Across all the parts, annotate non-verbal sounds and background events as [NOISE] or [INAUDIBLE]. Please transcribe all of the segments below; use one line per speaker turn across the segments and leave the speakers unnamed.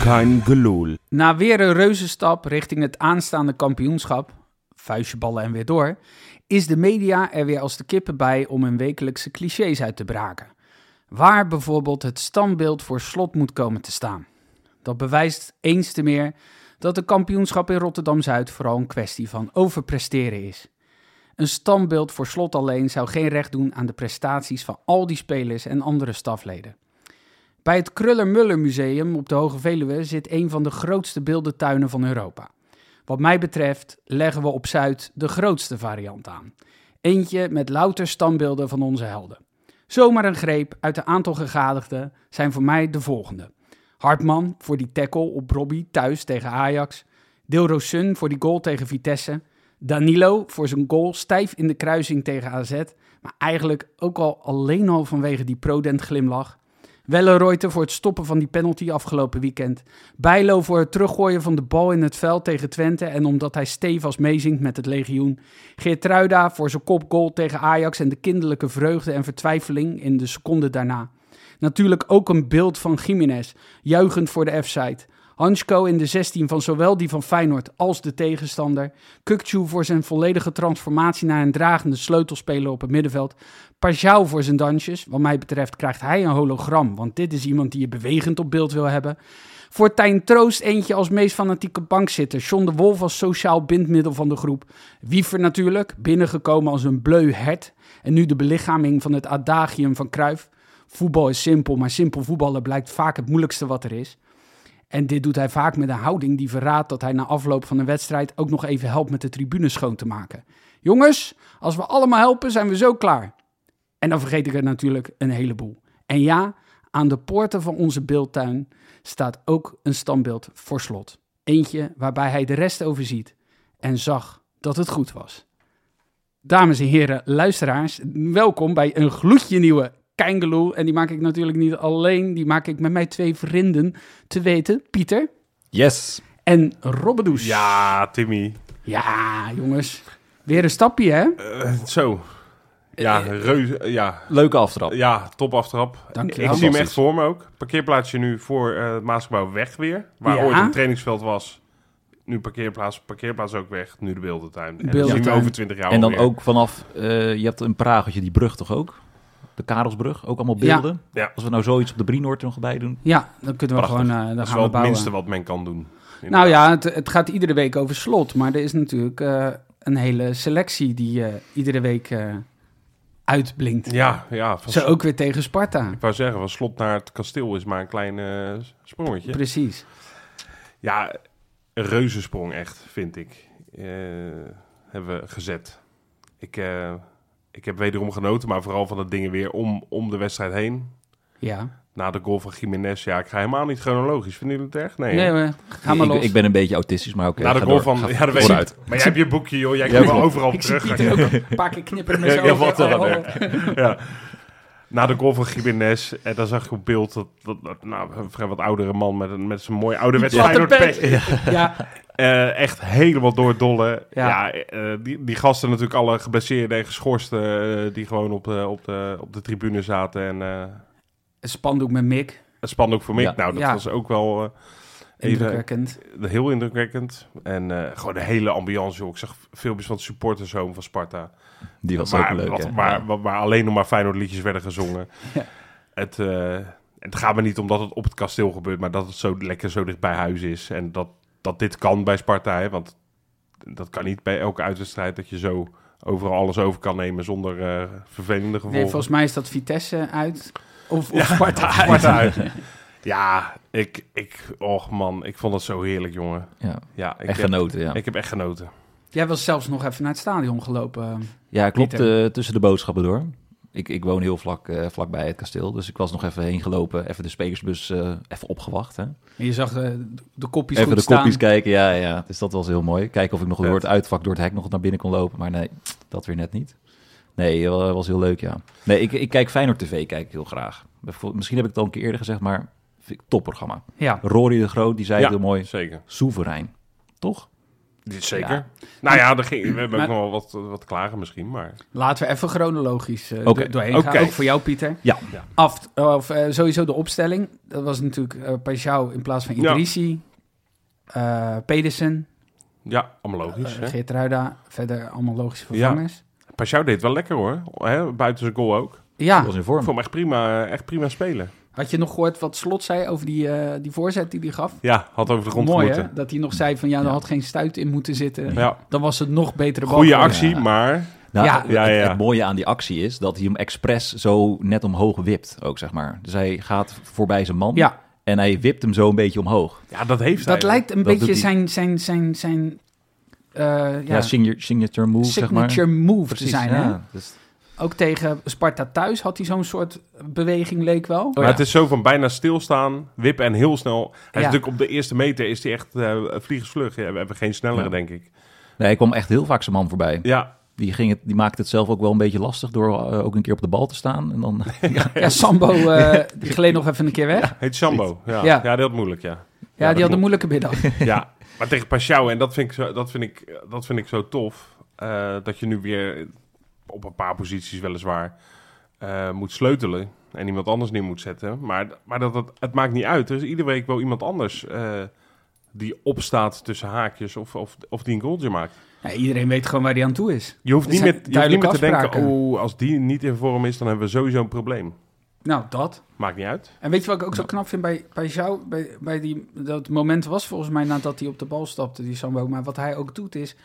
Kein geloel.
Na weer een reuzenstap richting het aanstaande kampioenschap, vuistje ballen en weer door, is de media er weer als de kippen bij om hun wekelijkse clichés uit te braken. Waar bijvoorbeeld het standbeeld voor slot moet komen te staan. Dat bewijst eens te meer dat de kampioenschap in Rotterdam-Zuid vooral een kwestie van overpresteren is. Een standbeeld voor slot alleen zou geen recht doen aan de prestaties van al die spelers en andere stafleden. Bij het Kruller-Muller Museum op de Hoge Veluwe zit een van de grootste beeldentuinen van Europa. Wat mij betreft leggen we op Zuid de grootste variant aan. Eentje met louter standbeelden van onze helden. Zomaar een greep uit de aantal gegadigden zijn voor mij de volgende. Hartman voor die tackle op Robbie thuis tegen Ajax. Dilrosun voor die goal tegen Vitesse. Danilo voor zijn goal stijf in de kruising tegen AZ. Maar eigenlijk ook al alleen al vanwege die prodent glimlach. Welleroyte voor het stoppen van die penalty afgelopen weekend. Bijlo voor het teruggooien van de bal in het veld tegen Twente en omdat hij stevast meezingt met het legioen. Geertruida voor zijn kopgoal tegen Ajax en de kinderlijke vreugde en vertwijfeling in de seconde daarna. Natuurlijk ook een beeld van Jiménez, juichend voor de F-side. Hansko in de 16 van zowel die van Feyenoord als de tegenstander. Kukcu voor zijn volledige transformatie naar een dragende sleutelspeler op het middenveld. Pajau voor zijn dansjes. Wat mij betreft krijgt hij een hologram, want dit is iemand die je bewegend op beeld wil hebben. Voor Tijn Troost eentje als meest fanatieke bankzitter. John de Wolf als sociaal bindmiddel van de groep. Wiever natuurlijk, binnengekomen als een bleu hert. En nu de belichaming van het adagium van Cruijff. Voetbal is simpel, maar simpel voetballen blijkt vaak het moeilijkste wat er is. En dit doet hij vaak met een houding die verraadt dat hij na afloop van een wedstrijd ook nog even helpt met de tribune schoon te maken. Jongens, als we allemaal helpen, zijn we zo klaar. En dan vergeet ik er natuurlijk een heleboel. En ja, aan de poorten van onze beeldtuin staat ook een standbeeld voor slot. Eentje waarbij hij de rest overziet en zag dat het goed was. Dames en heren, luisteraars, welkom bij een gloedje nieuwe Keingeloel. En die maak ik natuurlijk niet alleen, die maak ik met mijn twee vrienden te weten. Pieter
Yes.
en Robbedoes.
Ja, Timmy.
Ja, jongens. Weer een stapje, hè?
Eh, zo. Ja, reuze. eh, Ja,
Leuke aftrap.
ja top aftrap.
Dank je
Ik
wel.
zie hem echt
Fantastisch.
voor me ook. Parkeerplaatsje nu voor eh, het Maasgebouw weg weer. Waar
Ja.
ooit een trainingsveld was. Nu parkeerplaats, parkeerplaats ook weg. Nu de beeldentuin. En dat zien we
Beeldentuin.
over 20 jaar
En dan
alweer.
ook vanaf, eh, je hebt in Praag had je die brug toch ook? De Karelsbrug, ook allemaal
Ja.
beelden.
Ja.
Als we nou zoiets op de Brienoord er nog bij doen.
Ja, dan kunnen we
Prachtig.
gewoon eh, dan
Dat is
gaan
wel
we
het
bouwen.
minste wat men kan doen.
nou ja, het, het gaat iedere week over slot. Maar er is natuurlijk eh, een hele selectie die eh, iedere week eh, uitblinkt.
Ja, ja. Van
Zo ook weer tegen Sparta.
Ik wou zeggen, van slot naar het kasteel is maar een klein eh, sprongetje.
Precies.
Ja, een reuzensprong echt, vind ik. Eh, hebben we gezet. Ik, eh, ik heb wederom genoten, maar vooral van dat dingen weer om, om de wedstrijd heen.
Ja.
Na de goal van Jiménez. Ja, ik ga helemaal niet chronologisch. Vinden jullie het erg? Nee.
Nee,
hè?
we gaan maar
ik,
los.
ik ben een beetje autistisch, maar oké.
Na de
ga
goal
door.
van...
Ga
Ja, dat weet
vooruit.
ik. Maar jij hebt je boekje, joh. Jij
Ja,
kan wel
klopt.
overal op
Ik zie
terug.
Pieter ook een paar keer knipperen met
Ja,
zijn
ja,
ogen.
wat dan
Oh,
ook.
oh, oh.
ja. Na de goal van Jiménez, en dan zag ik op beeld dat, dat, dat nou, een vrij wat oudere man met, een, met zijn mooie ouderwets
Platte
Feyenoord
pet.
petje.
Ja,
Eh, echt helemaal doordolle.
Ja.
Ja, eh, die, die gasten natuurlijk alle geblesseerden en geschorsten eh, die gewoon op de, op, de, op de tribune zaten. En eh
een spandoek met Mick.
het spandoek voor Mick,
Ja.
nou dat
Ja.
was ook wel eh, even
Indrukwekkend.
heel indrukwekkend. En eh, gewoon de hele ambiance, joh. Ik zag filmpjes van het supportershome van Sparta.
Die was
maar,
ook leuk,
wat-
hè?
maar,
Ja.
maar, maar alleen nog maar Feyenoord liedjes werden gezongen.
Ja.
Het, eh, het gaat me niet om dat het op het kasteel gebeurt, maar dat het zo lekker zo dicht bij huis is. En dat, dat dit kan bij Sparta, hè, want dat kan niet bij elke uitwedstrijd dat je zo overal alles over kan nemen zonder eh, vervelende gevolgen.
Nee, volgens mij is dat Vitesse uit. Of, of Sparta uit.
[LAUGHS] Sparta uit. Ja, ik, ik, och man, ik vond het zo heerlijk, jongen.
Ja,
Ja, ik,
echt
heb,
genoten, ja.
ik heb echt genoten.
Jij was zelfs nog even naar het stadion gelopen.
Ja, klopt.
Pieter.
eh, tussen de boodschappen door. Ik, ik woon heel vlak, eh, vlakbij het kasteel, dus ik was nog even heen gelopen. Even de spekersbus eh, even opgewacht, hè.
En je zag eh, de kopjes
Even
goed
de
staan.
kopjes kijken, ja, ja. Dus dat was heel mooi. Kijken of ik nog door
Vet.
het uitvak, door het hek nog naar binnen kon lopen. Maar nee, dat weer net niet. Nee, dat was heel leuk, ja. Nee, ik, ik kijk Feyenoord TV, kijk ik heel graag. Bijvoorbeeld- Misschien heb ik het al een keer eerder gezegd, maar vind ik topprogramma.
Ja, Ah,
Rory de Groot, die zei
ja,
het heel mooi.
Zeker.
Soeverein, toch?
Dit Zeker. Nou ja, er ging, we hebben ook nog wel wat, wat klagen misschien, maar...
Laten we even chronologisch eh,
Oké.
do- doorheen
Oké.
gaan. Ook voor jou, Pieter.
Ja.
Ja.
Af, of eh, sowieso de opstelling. Dat was natuurlijk eh Pajau in plaats van
Ja.
Idrissi. eh, Pedersen,
Ja, allemaal
eh,
logisch. Dus, hè?
Geertruida. Verder allemaal logische vervangers.
Pashao deed wel lekker hoor. Hè, buiten zijn goal ook.
Ja.
Die was in vorm.
Ik vond hem echt prima, echt prima spelen.
Had je nog gehoord wat Slot zei over die, eh, die voorzet die hij gaf?
Ja, had over de grond
Mooi
moeten.
hè? Dat hij nog zei van ja, er
Ja.
had geen stuit in moeten zitten.
Ja,
Dan was het nog betere bal.
goede
geworden.
actie,
Ja.
maar...
Nou,
Ja.
Het,
Ja, ja, ja.
het mooie aan die actie is dat hij hem expres zo net omhoog wipt ook, zeg maar. Dus hij gaat voorbij zijn man
Ja,
en hij wipt hem zo een beetje omhoog.
Ja, dat heeft hij.
dat lijkt een
Dat
beetje
doet hij.
zijn, zijn, zijn, zijn eh,
Ja,
ja,
signature, signature move,
signature
zeg maar.
move
Precies,
te zijn. Hè?
ja. Dus-
Ook tegen Sparta thuis had hij zo'n soort beweging, leek wel.
Oh
maar het is zo van bijna stilstaan, wip en heel snel. Hij is natuurlijk op de eerste meter is hij echt eh vliegensvlug. Ja, we hebben geen snellere,
Ja.
denk ik.
Nee, hij kwam echt heel vaak zijn man voorbij.
Ja,
Die, ging het, die maakte het zelf ook wel een beetje lastig door eh, ook een keer op de bal te staan. En dan, [LAUGHS]
Ja, Sambo, eh, die gleed nog even een keer weg.
heet Sambo. Ja,
Ja.
ja. dat had moeilijk, ja.
Ja,
dat
die had een
klopt.
moeilijke
[LAUGHS]
middag.
ja, [LAUGHS] maar tegen Pashao, en dat vind ik zo, dat vind ik, dat vind ik zo tof. eh, dat je nu weer op een paar posities weliswaar eh, moet sleutelen. En iemand anders neer moet zetten. Maar, maar dat, dat, het maakt niet uit. Er is iedere week wel iemand anders eh, die opstaat tussen haakjes of, of, of die een goaltje maakt.
Ja, iedereen weet gewoon waar hij aan toe is.
Je hoeft
Er
niet
zijn
meer, je hoeft niet meer te
duidelijke
denken, oh, als die niet in vorm is, dan hebben we sowieso een probleem.
Nou, dat.
Maakt niet uit.
En weet je wat ik ook zo knap vind bij, bij jou? Bij, bij die, dat moment was volgens mij nadat hij op de bal stapte, die Sambo. Maar wat hij ook doet is,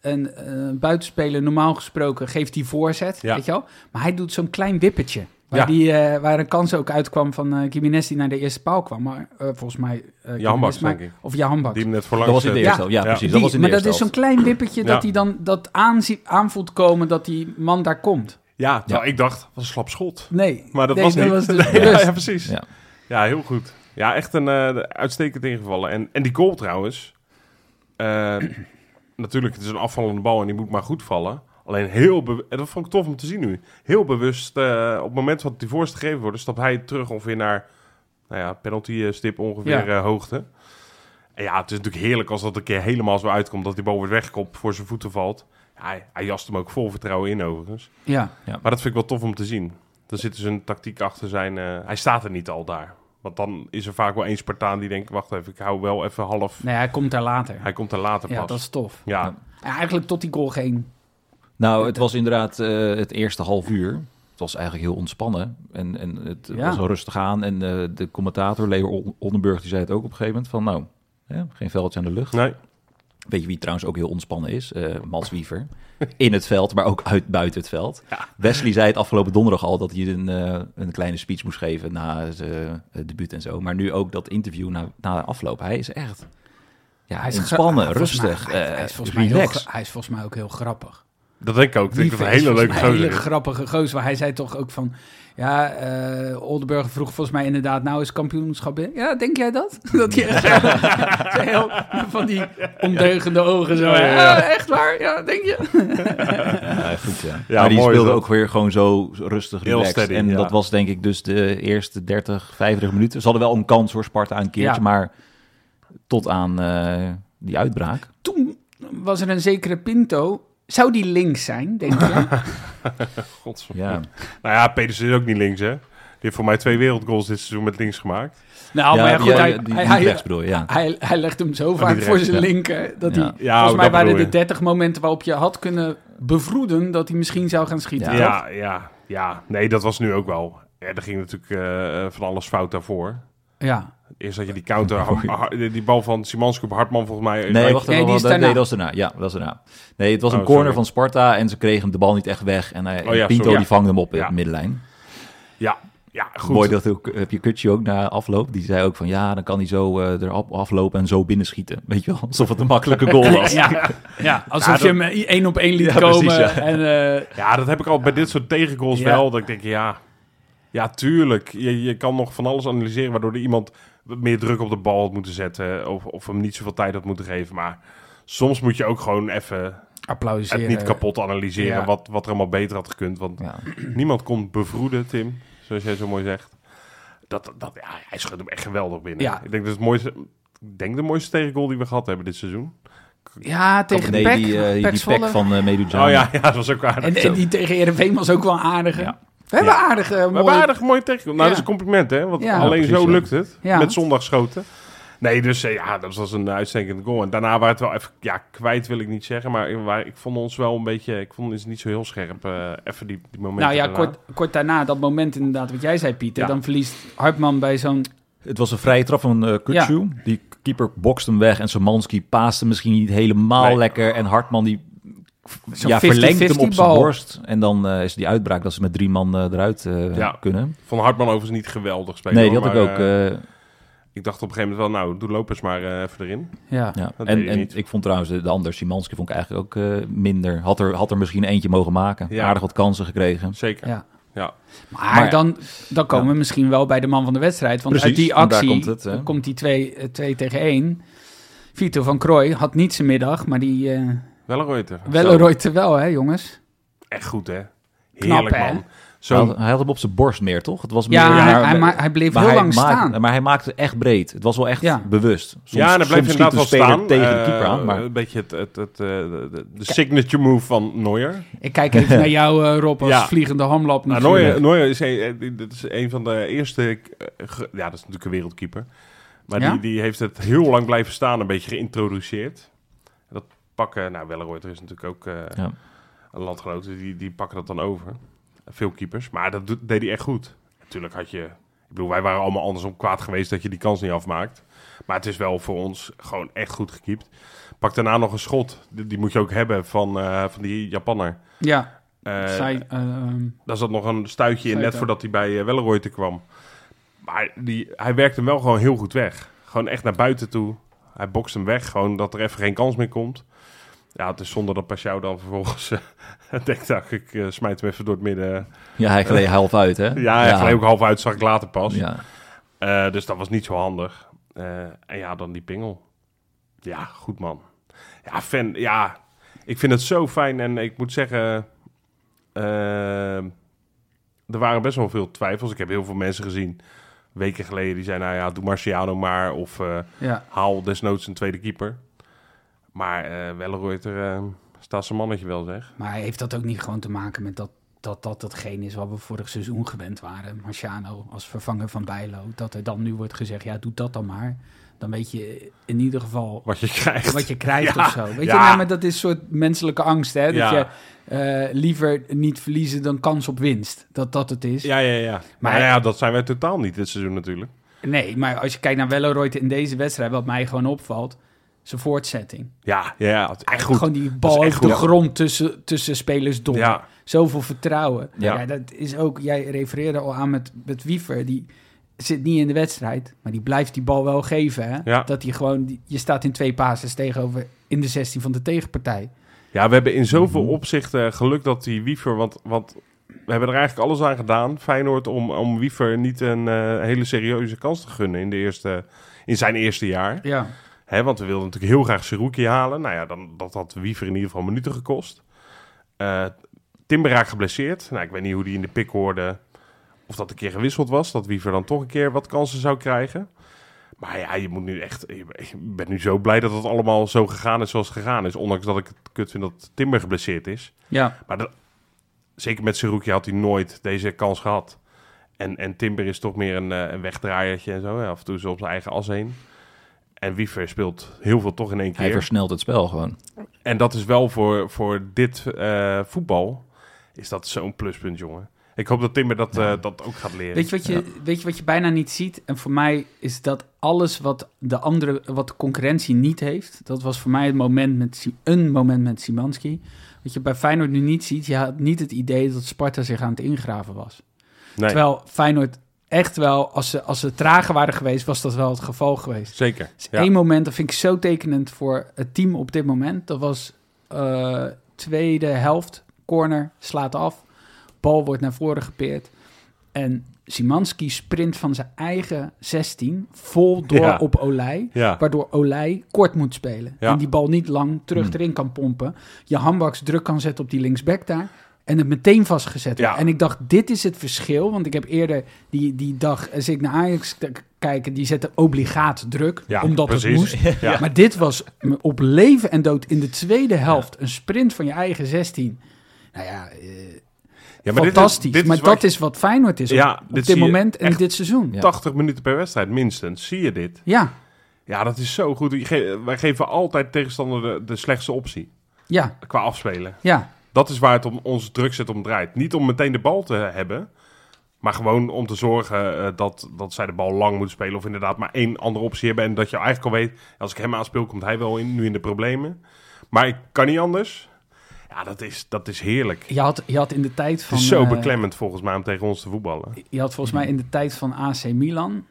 een eh, buitenspeler normaal gesproken geeft hij voorzet,
Ja.
weet je wel? Maar hij doet zo'n klein wippetje. Waar,
Ja.
die, eh, waar een kans ook uitkwam van eh Jiménez die naar de eerste paal kwam. Maar eh, volgens mij... eh
Je handbak,
Jiménez maakt-
denk ik.
Of je handbak.
Die hem net voor
dat
langs eh,
was in de
zet.
eerste helft. Ja,
Ja.
precies.
Die-
dat was in de
maar dat
eerste
is zo'n klein wippetje dat
Ja.
hij dan dat aanzie, aan voelt komen dat die man daar komt.
Ja, terwijl ik dacht, wat een slap schot.
Nee,
Maar dat
nee,
was niet. [LAUGHS]
dus
Nee, ja,
rust.
ja, precies.
Ja.
Ja. heel goed. Ja, echt een eh, uitstekend ingevallen. En, en die goal trouwens. eh, [CLEARS THROAT] natuurlijk, het is een afvallende bal en die moet maar goed vallen. Alleen heel be- en dat vond ik tof om te zien nu. Heel bewust, eh, op het moment dat die voorste gegeven wordt, stapt hij terug ongeveer naar nou ja, penalty eh, stip ongeveer eh, hoogte. En ja, het is natuurlijk heerlijk als dat een keer helemaal zo uitkomt dat die bal wordt weggekopt voor zijn voeten valt. Ja, hij, hij jast hem ook vol vertrouwen in overigens.
Ja.
Maar dat vind ik wel tof om te zien. Er zit dus een tactiek achter zijn... eh, hij staat er niet al daar. Want dan is er vaak wel één Spartaan die denkt... wacht even, ik hou wel even half...
Nee, hij komt daar later.
Hij komt er later pas.
Ja, dat is tof.
Ja,
Ja, eigenlijk tot die goal geen.
Nou, het was inderdaad eh, het eerste half uur. Het was eigenlijk heel ontspannen en, en het
Ja.
was wel rustig aan. En eh, de commentator, Leo Onderburg, die zei het ook op een gegeven moment van... nou, hè, geen veldje aan de lucht.
nee.
Weet je wie trouwens ook heel ontspannen is? Eh Mats Wiever. In het veld, maar ook uit buiten het veld. Wesley zei het afgelopen donderdag al dat hij een, eh, een kleine speech moest geven na zijn eh, debuut en zo. Maar nu ook dat interview na, na de afloop. Hij is echt ja, hij is ontspannen,
ge- volgens mij-
rustig,
hij,
eh,
hij is volgens mij heel
relaxed.
ge- hij is volgens mij ook heel grappig.
Dat denk ik ook. Ik denk dat
Lieve
het
is
een hele
volgens
leuke
mij een hele
gozer is.
grappige gozer. Maar hij zei toch ook van... Ja, eh Oldenburg vroeg volgens mij inderdaad... Nou is kampioenschap... in- Ja, denk jij dat? [LAUGHS] dat hij echt zo- zo heel van die ondeugende ogen zo...
Ja, ja, ja.
"Ah, echt waar? Ja, denk je?
Ja, goed, ja.
Ja,
maar die
mooi
speelde
dat.
ook weer gewoon zo rustig,
Heel
relaxed.
steady,
en
ja.
dat was denk ik dus de eerste 30, 35 minuten. Ze hadden wel een kans voor Sparta een keertje,
Ja.
maar tot aan eh, die uitbraak.
Toen was er een zekere Pinto... Zou die links zijn,
[LAUGHS]
denk je?
Ja.
Nou ja, Pedersen is ook niet links, hè. Die heeft voor mij twee wereldgoals dit seizoen met links gemaakt.
Nou, maar
Ja,
ja, goed,
ja,
hij,
ja, die,
hij,
die
hij,
rechts bedoel je, ja.
hij, hij legt hem zo vaak
Oh, die
voor
rechts,
zijn
ja.
linker. Dat
Ja.
hij,
Ja,
volgens
ook
mij
dat
waren
bedoel
er 30 momenten waarop je had kunnen bevroeden dat hij misschien zou gaan schieten.
Ja,
Ja.
ja, ja. Nee, dat was nu ook wel. Ja, er ging natuurlijk eh, van alles fout daarvoor.
Ja.
Eerst had je die counter, har- har- die bal van Simansko op Hartman volgens mij.
Nee, wacht even.
Nee, die
wel-
is
dat-
daarna.
nee, dat was daarna. Ja, dat was daarna. Nee, het was
Oh,
een corner
sorry.
van Sparta en ze kregen de bal niet echt weg. En hij,
Oh ja,
Pinto
sorry.
die vangde hem op
Ja.
in de middenlijn.
Ja, ja, goed.
Mooi dat ook, heb je Kutje ook na afloop. Die zei ook van ja, dan kan hij zo eh, eraf aflopen en zo binnenschieten. Weet je wel, [LAUGHS] alsof het een makkelijke
[LAUGHS]
goal was.
Ja. ja, alsof
Ja,
je hem één op één liet
Ja,
komen.
precies, ja.
En, eh,
Ja, dat heb ik al bij dit soort tegengoals
Ja.
wel. Dat ik denk, ja, ja tuurlijk. Je, je kan nog van alles analyseren waardoor er iemand wat meer druk op de bal had moeten zetten. Of, of hem niet zoveel tijd had moeten geven. Maar soms moet je ook gewoon even
applaudisseren.
het niet kapot analyseren.
Ja.
Wat, wat er allemaal beter had gekund. Want [CLEARS THROAT]
Ja.
niemand kon bevroeden, Tim. Zoals jij zo mooi zegt. Dat, dat, ja, hij schudt hem echt geweldig binnen.
Ja.
Ik denk dat is het mooiste... Ik denk de mooiste tegengoal die we gehad hebben dit seizoen.
Ja, tegen
nee,
Peck.
die, eh,
Peck
die
Zwolle.
pack van eh Meduza.
Oh ja, [LAUGHS] ja, dat was ook aardig.
En, en die tegen Heerenveen was ook wel een aardige.
Ja.
We hebben
Ja.
aardige mooie...
We hebben aardig mooi tegenkomen.
Ja.
Nou, dat is een compliment, hè? Want
Ja.
alleen
Ja, precies,
zo
ja.
lukt het.
Ja.
Met zondagschoten. Nee, dus eh, ja, dat was een uitstekende goal. En daarna waren het wel even, ja, kwijt wil ik niet zeggen. Maar ik- waar- ik vond ons wel een beetje, ik vond ons niet zo heel scherp. eh, even die, die momenten
Nou ja,
daarna.
kort, kort daarna, dat moment inderdaad wat jij zei, Pieter.
Ja.
Dan verliest Hartman bij zo'n...
Het was een vrije trap van eh Kutsu. Die keeper bokste hem weg en Samanski paaste misschien niet helemaal
Nee.
lekker. En Hartman die
Zo'n
ja, verlengt hem
50-50
op zijn
bal.
borst. En dan eh, is die uitbraak dat ze met drie man eh, eruit eh,
Ja.
kunnen.
Van Hartman overigens niet geweldig spelen.
nee, die
hoor,
had ik
maar,
ook.
eh,
eh,
ik dacht op een gegeven moment wel, nou, doe Lopez maar eh, even erin.
Ja.
ja.
dat deed
En,
hij
en
niet.
ik vond trouwens de, de ander, Simanski, vond ik eigenlijk ook eh, minder. Had er, had er misschien eentje mogen maken.
Ja.
Aardig wat kansen gekregen.
Zeker.
Ja.
Ja.
Maar,
Maar ja.
dan, dan komen we misschien wel bij de man van de wedstrijd. Want
Precies,
uit die
want daar
actie
komt het, hè.
komt die 2 twee tegen 1. Vito van Krooi had niet zijn middag, maar die eh
Wel een Reuter.
Welleroyte wel, hè jongens?
Echt goed, hè?
Knap,
Heerlijk,
hè?
man.
Hij
Zo,
had, hij had hem op zijn borst meer, toch? Het was
Ja,
meer,
hij,
maar-
hij, ma- hij bleef
maar
heel
hij
lang
maakt-
staan.
Maar hij maakte het echt breed. Het was wel echt
Ja.
bewust. Soms,
ja, en dan blijft
soms schiet
inderdaad
een
wel
speler
staan.
tegen de
Eh,
keeper aan. Maar
Een beetje het, het, het, eh, de, de- de signature move van Neuer.
Ik
[LAUGHS]
kijk even naar jou, eh, Rob, als
Ja.
vliegende hamlap
Nou,
natuurlijk.
Neuer, Neuer is, een, eh, dat is een van de eerste... eh, ge- Ja, dat is natuurlijk een wereldkeeper. Maar
Ja?
die, die heeft het heel lang blijven staan, een beetje geïntroduceerd. Dat pakken... Nou, Welleroyter is natuurlijk ook eh,
Ja.
een landgenoot. dus Die, die pakken dat dan over. Veel keepers. Maar dat doet- deed hij echt goed. Natuurlijk had je... Ik bedoel, wij waren allemaal andersom kwaad geweest dat je die kans niet afmaakt. Maar het is wel voor ons gewoon echt goed gekiept. Pak daarna nog een schot. Die, die moet je ook hebben van, eh, van die Japanner.
Ja,
Eh,
zij, eh, ehm,
daar zat nog een stuitje in,
Zei
net
het
voordat hij bij eh Welleroyte kwam. Maar die, hij werkte hem wel gewoon heel goed weg. Gewoon echt naar buiten toe. Hij bokst hem weg, gewoon dat er even geen kans meer komt. Ja, het is zonder dat Pashao dan vervolgens eh, [LAUGHS] denkt, nou, ik eh, smijt hem even door het midden.
Ja, hij gleed half uit, hè?
Ja, hij gleed ook half uit, zag ik later pas.
Ja.
Eh, dus dat was niet zo handig. Eh, en ja, dan die pingel. Ja, goed man. Ja, fan, ja. Ik vind het zo fijn en ik moet zeggen... eh, er waren best wel veel twijfels. Ik heb heel veel mensen gezien weken geleden die zeiden... Nou ja, doe Marciano maar of eh,
ja.
haal desnoods een tweede keeper. Maar eh Welleroyter eh, staat zijn mannetje wel, zeg.
Maar heeft dat ook niet gewoon te maken met dat dat, dat datgene is wat we vorig seizoen gewend waren? Marciano als vervanger van Bijlo. Dat er dan nu wordt gezegd, ja, doe dat dan maar. Dan weet je in ieder geval
Wat je krijgt.
wat je krijgt
Ja,
of zo. Weet
ja.
je, nou, maar dat is een soort menselijke angst, hè? Dat
Ja.
je eh, liever niet verliezen dan kans op winst. Dat dat het is.
Ja, ja, ja. Maar,
Maar-
ja, dat zijn wij totaal niet dit seizoen natuurlijk.
Nee, maar als je kijkt naar Welleroyte in deze wedstrijd, wat mij gewoon opvalt, zijn voortzetting.
Ja, ja, ja. het- Echt goed.
Gewoon die bal
echt
over de
goed.
grond tussen, tussen spelers door.
Ja.
Zoveel vertrouwen. Ja.
Ja.
dat is ook, jij refereerde al aan met, met Wiever. Die zit niet in de wedstrijd, maar die blijft die bal wel geven. Hè?
Ja.
Dat hij gewoon, die- je staat in twee pases tegenover in de 16 van de tegenpartij.
Ja, we hebben in zoveel opzichten geluk dat die Wiefer... Want, want we hebben er eigenlijk alles aan gedaan, Feyenoord... om, om Wiefer niet een eh, hele serieuze kans te gunnen in, de eerste, in zijn eerste jaar.
Ja.
Hè, want we wilden natuurlijk heel graag Seruki halen. Nou ja, dan, dat had Wiever in ieder geval minuten gekost. Eh Timber raakt geblesseerd. Nou, ik weet niet hoe die in de pik hoorde. Of dat een keer gewisseld was. Dat Wiever dan toch een keer wat kansen zou krijgen. Maar ja, je moet nu echt. Ik ben nu zo blij dat het allemaal zo gegaan is zoals het gegaan is. Ondanks dat ik het kut vind dat Timber geblesseerd is.
Ja.
Maar dat, zeker met Seruki had hij nooit deze kans gehad. En, en Timber is toch meer een, eh, een wegdraaiertje en zo. hè. Af en toe zo op zijn eigen as heen. En Wiever speelt heel veel toch in één
Hij
keer.
versnelt het spel gewoon.
En dat is wel voor, voor dit eh, voetbal, is dat zo'n pluspunt, jongen. Ik hoop dat Timber dat, eh, dat ook gaat leren.
Weet je, wat je,
Ja.
weet je wat je bijna niet ziet? En voor mij is dat alles wat de andere, wat de concurrentie niet heeft. Dat was voor mij het moment met, Si- een moment met Simanski. Wat je bij Feyenoord nu niet ziet, je had niet het idee dat Sparta zich aan het ingraven was.
nee,
Terwijl Feyenoord echt wel, als ze, als ze trager waren geweest, was dat wel het geval geweest.
zeker.
Dus
Ja.
één moment, dat vind ik zo tekenend voor het team op dit moment. Dat was eh, tweede helft, corner, slaat af. Bal wordt naar voren gepeerd. En Simanski sprint van zijn eigen 16 vol door
Ja.
op Olij. [LAUGHS]
Ja.
Waardoor Olij kort moet spelen.
Ja. Hmm.
En die bal niet lang terug erin kan pompen. Je handbaks druk kan zetten op die linksback daar. En het meteen vastgezet. wordt.
Ja.
En ik dacht, dit is het verschil. Want ik heb eerder die, die dag, als ik naar Ajax k- kijken, die zetten obligaat druk,
Ja,
omdat het
precies.
moest.
Ja.
Maar dit was m- op leven en dood in de tweede helft een sprint van je eigen 16. Nou ja, eh,
Ja, maar dit is-
fantastisch.
dit is
maar
wat
dat
je-
is wat Feyenoord is op-
Ja,
op,
dit
dit
zie je
moment en
echt.
dit seizoen.
Ja.
Ja,
80 minuten per wedstrijd, minstens. Zie je dit?
ja,
Ja, dat is zo goed. Je ge- wij geven altijd tegenstander de, de slechtste optie
ja.
qua afspelen. Dat is waar het om onze drukzet om draait. Niet om meteen de bal te hebben, maar gewoon om te zorgen eh, dat, dat zij de bal lang moeten spelen. Of inderdaad maar één andere optie hebben. En dat je eigenlijk al weet, als ik hem aanspeel, komt hij wel in, nu in de problemen. Maar ik kan niet anders. Ja, dat is, dat is heerlijk.
Je, had, je had in de tijd
Het
van...
is zo
eh,
beklemmend volgens mij om tegen ons te voetballen.
Je had volgens mij in de tijd van AC Milan.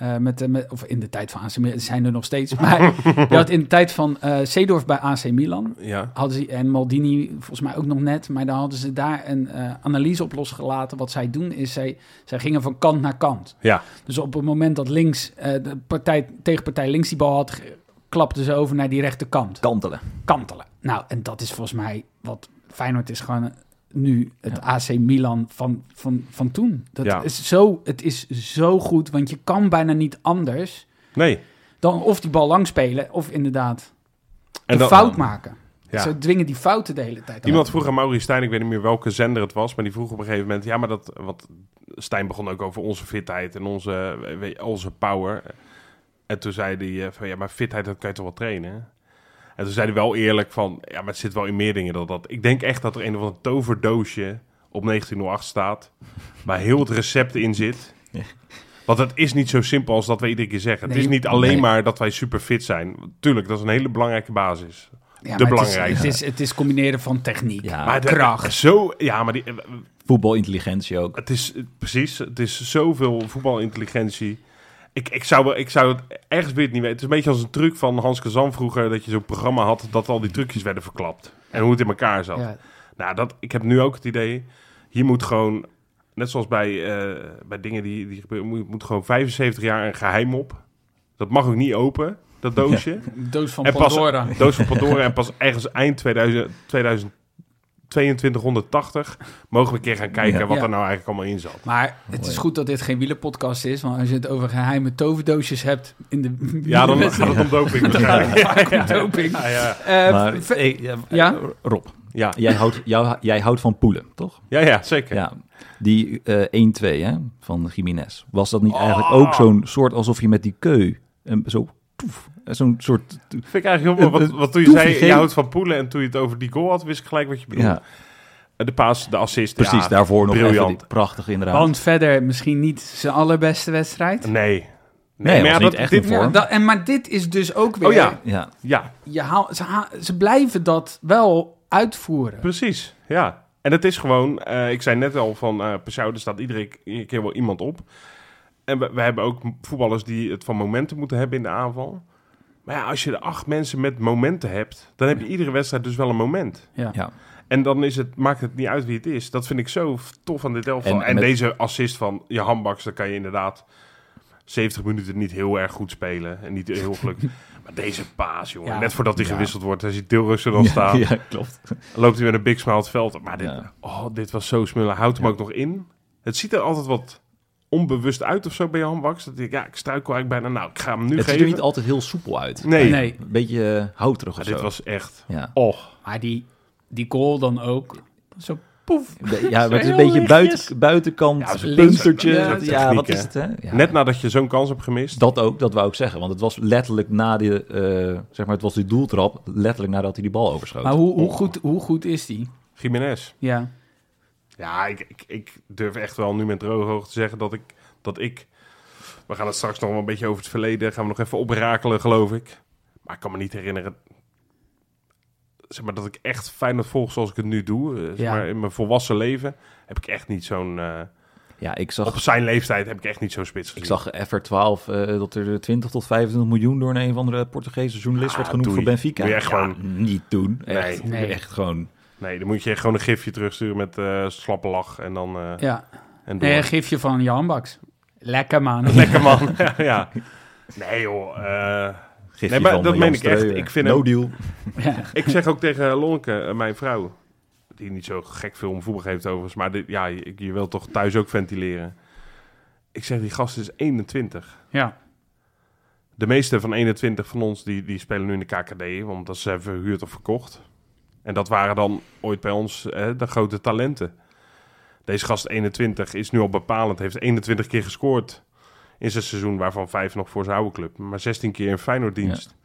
eh, met, de- met, of in de tijd van AC Milan, ze zijn er nog steeds. Maar je had in de tijd van eh Seedorf bij AC Milan.
Ja.
Hadden ze, en Maldini volgens mij ook nog net. Maar dan hadden ze daar een eh, analyse op losgelaten. Wat zij doen is, zij, zij gingen van kant naar kant.
Ja,
Dus op het moment dat links, eh, de partij, tegenpartij links die bal had, ge- klapten ze over naar die rechterkant
Kantelen.
kantelen. Nou, en dat is volgens mij wat Feyenoord is gewoon nu het AC Milan van, van, van toen. Dat
Ja.
is zo, het is zo goed, want je kan bijna niet anders
nee.
dan of die bal lang spelen of inderdaad
En
een
dat-
fout maken.
Ja.
Ze dwingen die fouten de hele tijd.
Iemand vroeg aan Maurice Stijn, ik weet niet meer welke zender het was, maar die vroeg op een gegeven moment, ja, maar dat, want Stijn begon ook over onze fitheid en onze, eh, we- onze power. En toen zei hij eh, van, ja, maar fitheid, dat kan je toch wel trainen? hè? En toen zei hij wel eerlijk van, ja, maar het zit wel in meer dingen dan dat. Ik denk echt dat er een of ander toverdoosje op 1908 staat, waar heel het recept in
[LAUGHS]
zit.
Ja.
Want het is niet zo simpel als dat we iedere keer zeggen.
Nee.
het is niet alleen
Nee.
maar dat wij super fit zijn. Tuurlijk, dat is een hele belangrijke basis.
Ja, maar
de
het is-
belangrijkste.
Het is, het is combineren van techniek.
Ja.
Maar de-
Ah, kracht.
Zo, ja, maar die, eh,
Voetbalintelligentie ook.
Het is eh, precies, het is zoveel voetbalintelligentie. Ik, ik, zou, wel- ik zou het ergens weer niet weten. Het is een beetje als een truc van Hans Kazan vroeger, dat je zo'n programma had dat al die trucjes werden verklapt. En hoe het in elkaar zat.
Ja.
Nou, dat, ik heb nu ook het idee, hier moet gewoon, net zoals bij, eh, bij dingen die, die gebeuren, moet, moet gewoon 75 jaar een geheim op. Dat mag ook niet open, dat doosje.
Doos van
En pas-
Pandora.
Doos van Pandora en pas ergens eind 2000, 2280 mogen we een keer gaan kijken
Ja.
wat
Ja.
er nou eigenlijk allemaal in zat.
Maar het is goed dat dit geen wielerpodcast is. Want als je het over geheime toverdoosjes hebt in de [LAUGHS]
Ja, dan gaat het om doping waarschijnlijk.
om doping.
[LAUGHS] Ja, ja.
Eh,
Maar,
ver-
hey, ja,
Ja?
Rob,
Ja.
jij houdt, jou, jij houdt van Poelen, toch?
ja, ja, zeker.
Ja. Die eh 1-2 hè, van Jiménez. Was dat niet eigenlijk
Oh.
ook zo'n soort alsof je met die keu... Een, zo, toef, zo'n soort...
Vind ik eigenlijk heel mooi. Wat, wat toen je
Doe
zei,
geen-
je houdt van Poelen en toen je het over die goal had, wist ik gelijk wat je bedoelt.
Ja,
De paas, de assist.
precies,
ja,
daarvoor nog even
briljant.
die- prachtig inderdaad.
Want verder misschien niet zijn allerbeste wedstrijd.
Nee.
Nee, was
ja,
niet echt een
dit,
vorm.
Ja, dat- en, maar dit is dus ook weer...
Oh ja.
ja.
Ja,
Je haal, ze, ha- ze blijven dat wel uitvoeren.
precies. Ja. En het is gewoon, eh, ik zei net al van eh Pesau, er staat iedere ke- keer wel iemand op. En we, we hebben ook voetballers die het van momenten moeten hebben in de aanval. Maar ja, als je de acht mensen met momenten hebt, dan heb je iedere wedstrijd dus wel een moment.
Ja.
ja.
En dan is het, maakt het niet uit wie het is. Dat vind ik zo f- tof aan dit elftal.
En
En,
met-
deze assist van je handbaks, dan kan je inderdaad 70 minuten niet heel erg goed spelen. En
[LAUGHS]
niet heel gelukkig. maar deze paas, jongen.
Ja.
Net voordat hij
Ja.
gewisseld wordt, hij ziet Dilrus er al
[LAUGHS]
staan.
Ja, klopt.
Loopt hij met een big smile het veld. Maar dit,
Ja.
oh, dit was zo smullen. Houdt hem
Ja.
ook nog in. Het ziet er altijd wat onbewust uit of zo bij je handbaks. Dat ik, ja, ik struikel eigenlijk bijna. Nou, ik ga hem nu
Het ziet
geven.
er niet altijd heel soepel uit.
nee,
Nee.
Een beetje eh, houterig
Maar
of
Mm. dit
zo.
was echt...
Ja.
Oh,
Maar die, die goal dan ook. Zo poef.
[LAUGHS] Ja, maar het is een
Heel
beetje
lichtjes.
buiten, buitenkant,
Ja, zo'n
puntertje.
punt-
Ja,
zo'n
techniek,
wat
hè.
is het, hè? Ja.
net nadat je zo'n kans hebt gemist.
Dat ook, dat wou ik zeggen. Want het was letterlijk na de, eh, zeg maar, het was die doeltrap, letterlijk nadat hij die bal overschoot.
Maar hoe, hoe, goed, hoe goed is die?
Jiménez.
Ja.
Ja, ik, ik, ik durf echt wel nu met droge hoog te zeggen dat ik, dat ik... We gaan het straks nog wel een beetje over het verleden... gaan we nog even oprakelen, geloof ik. Maar ik kan me niet herinneren... Zeg maar dat ik echt Feyenoord volg zoals ik het nu doe. Eh, Zeg
Ja.
maar in mijn volwassen leven heb ik echt niet zo'n... eh,
Ja, ik zag,
op zijn leeftijd heb ik echt niet zo'n spits gezien.
ik zag FR12 eh, dat er 20 tot 25 miljoen door een van de Portugese journalist
Ah,
werd genoemd
doei.
voor Benfica.
Moet je echt
Ja,
gewoon-
niet doen.
Nee.
Echt,
Nee.
echt gewoon.
Nee, dan moet je gewoon een gifje terugsturen met eh, slappe lach en dan... eh,
ja.
en door.
Nee, een gifje van Jan Baks. Lekker man.
[LAUGHS] Lekker man. [LAUGHS] ja, ja. Nee joh, eh,
Gifje
Nee, maar
van
dat
Jan
meen ik echt.
Streuer.
Ik vind
no
hem-
deal.
Ja.
Ik zeg ook tegen Lonke, eh, mijn vrouw, die niet zo gek veel om voetbal heeft overigens, maar dit, ja, je, je wilt toch thuis ook ventileren. Ik zeg, die gast is 21.
Ja.
De meeste van 21 van ons, die, die spelen nu in de KKD, want dat zijn verhuurd of verkocht. En dat waren dan ooit bij ons hè, de grote talenten. Deze gast 21 is nu al bepalend, heeft 21 keer gescoord in zijn seizoen, waarvan 5 nog voor zijn oude club. Maar 16 keer in Feyenoord dienst.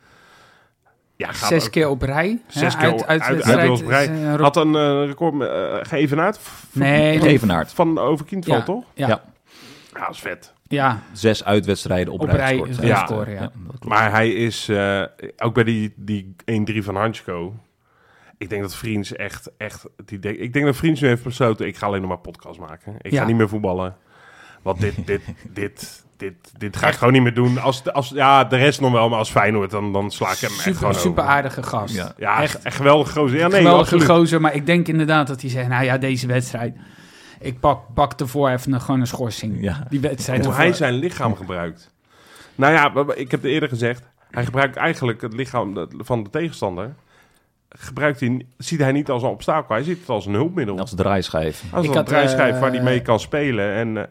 Ja, gaat
Zes
ook-
keer op rij. hè,
Zes keer uit, uit,
wedstrijd
uit, op rij.
is, eh, Rob-
Had een eh, record eh, geëvenaard v-
Nee,
van-
Geëvenaard.
van Overkindval,
ja,
toch?
Ja, ja.
Ja.
Ja, dat is vet.
Zes uitwedstrijden op,
Op
rij
rij
gescoord.
is
Ja.
een
Ja.
score, ja.
Ja, dat klopt.
Maar hij is, eh, ook bij die, die 1-3 van Hansko... Ik denk dat Vriends echt, echt... Die denk- ik denk dat Vriends nu heeft besloten... ik ga alleen nog maar podcast maken. Ik
Ja.
ga niet meer voetballen. Want [LAUGHS] dit, dit, dit, dit, dit ga ik gewoon niet meer doen. Als, de- als, ja, de rest nog wel, maar als Feyenoord... dan, dan sla ik hem echt gewoon
Super, super
over.
aardige gast.
Ja.
Ja,
Echt.
echt, echt geweldig gozer. Ja, nee,
Geweldige
absoluut.
gozer, maar ik denk inderdaad dat hij zegt... nou ja, deze wedstrijd... ik pak, pak ervoor even een, gewoon een schorsing.
Ja.
Die wedstrijd
Hoe
ervoor.
hij zijn lichaam gebruikt. Nou ja, maar- maar ik heb het eerder gezegd. Hij gebruikt eigenlijk het lichaam dat- van de tegenstander. Gebruikt hij, ziet hij niet als een obstakel. Hij ziet het als een hulpmiddel.
Als draaischijf.
Als
Ik
een
had,
draaischijf
eh,
waar hij mee kan spelen. En, eh,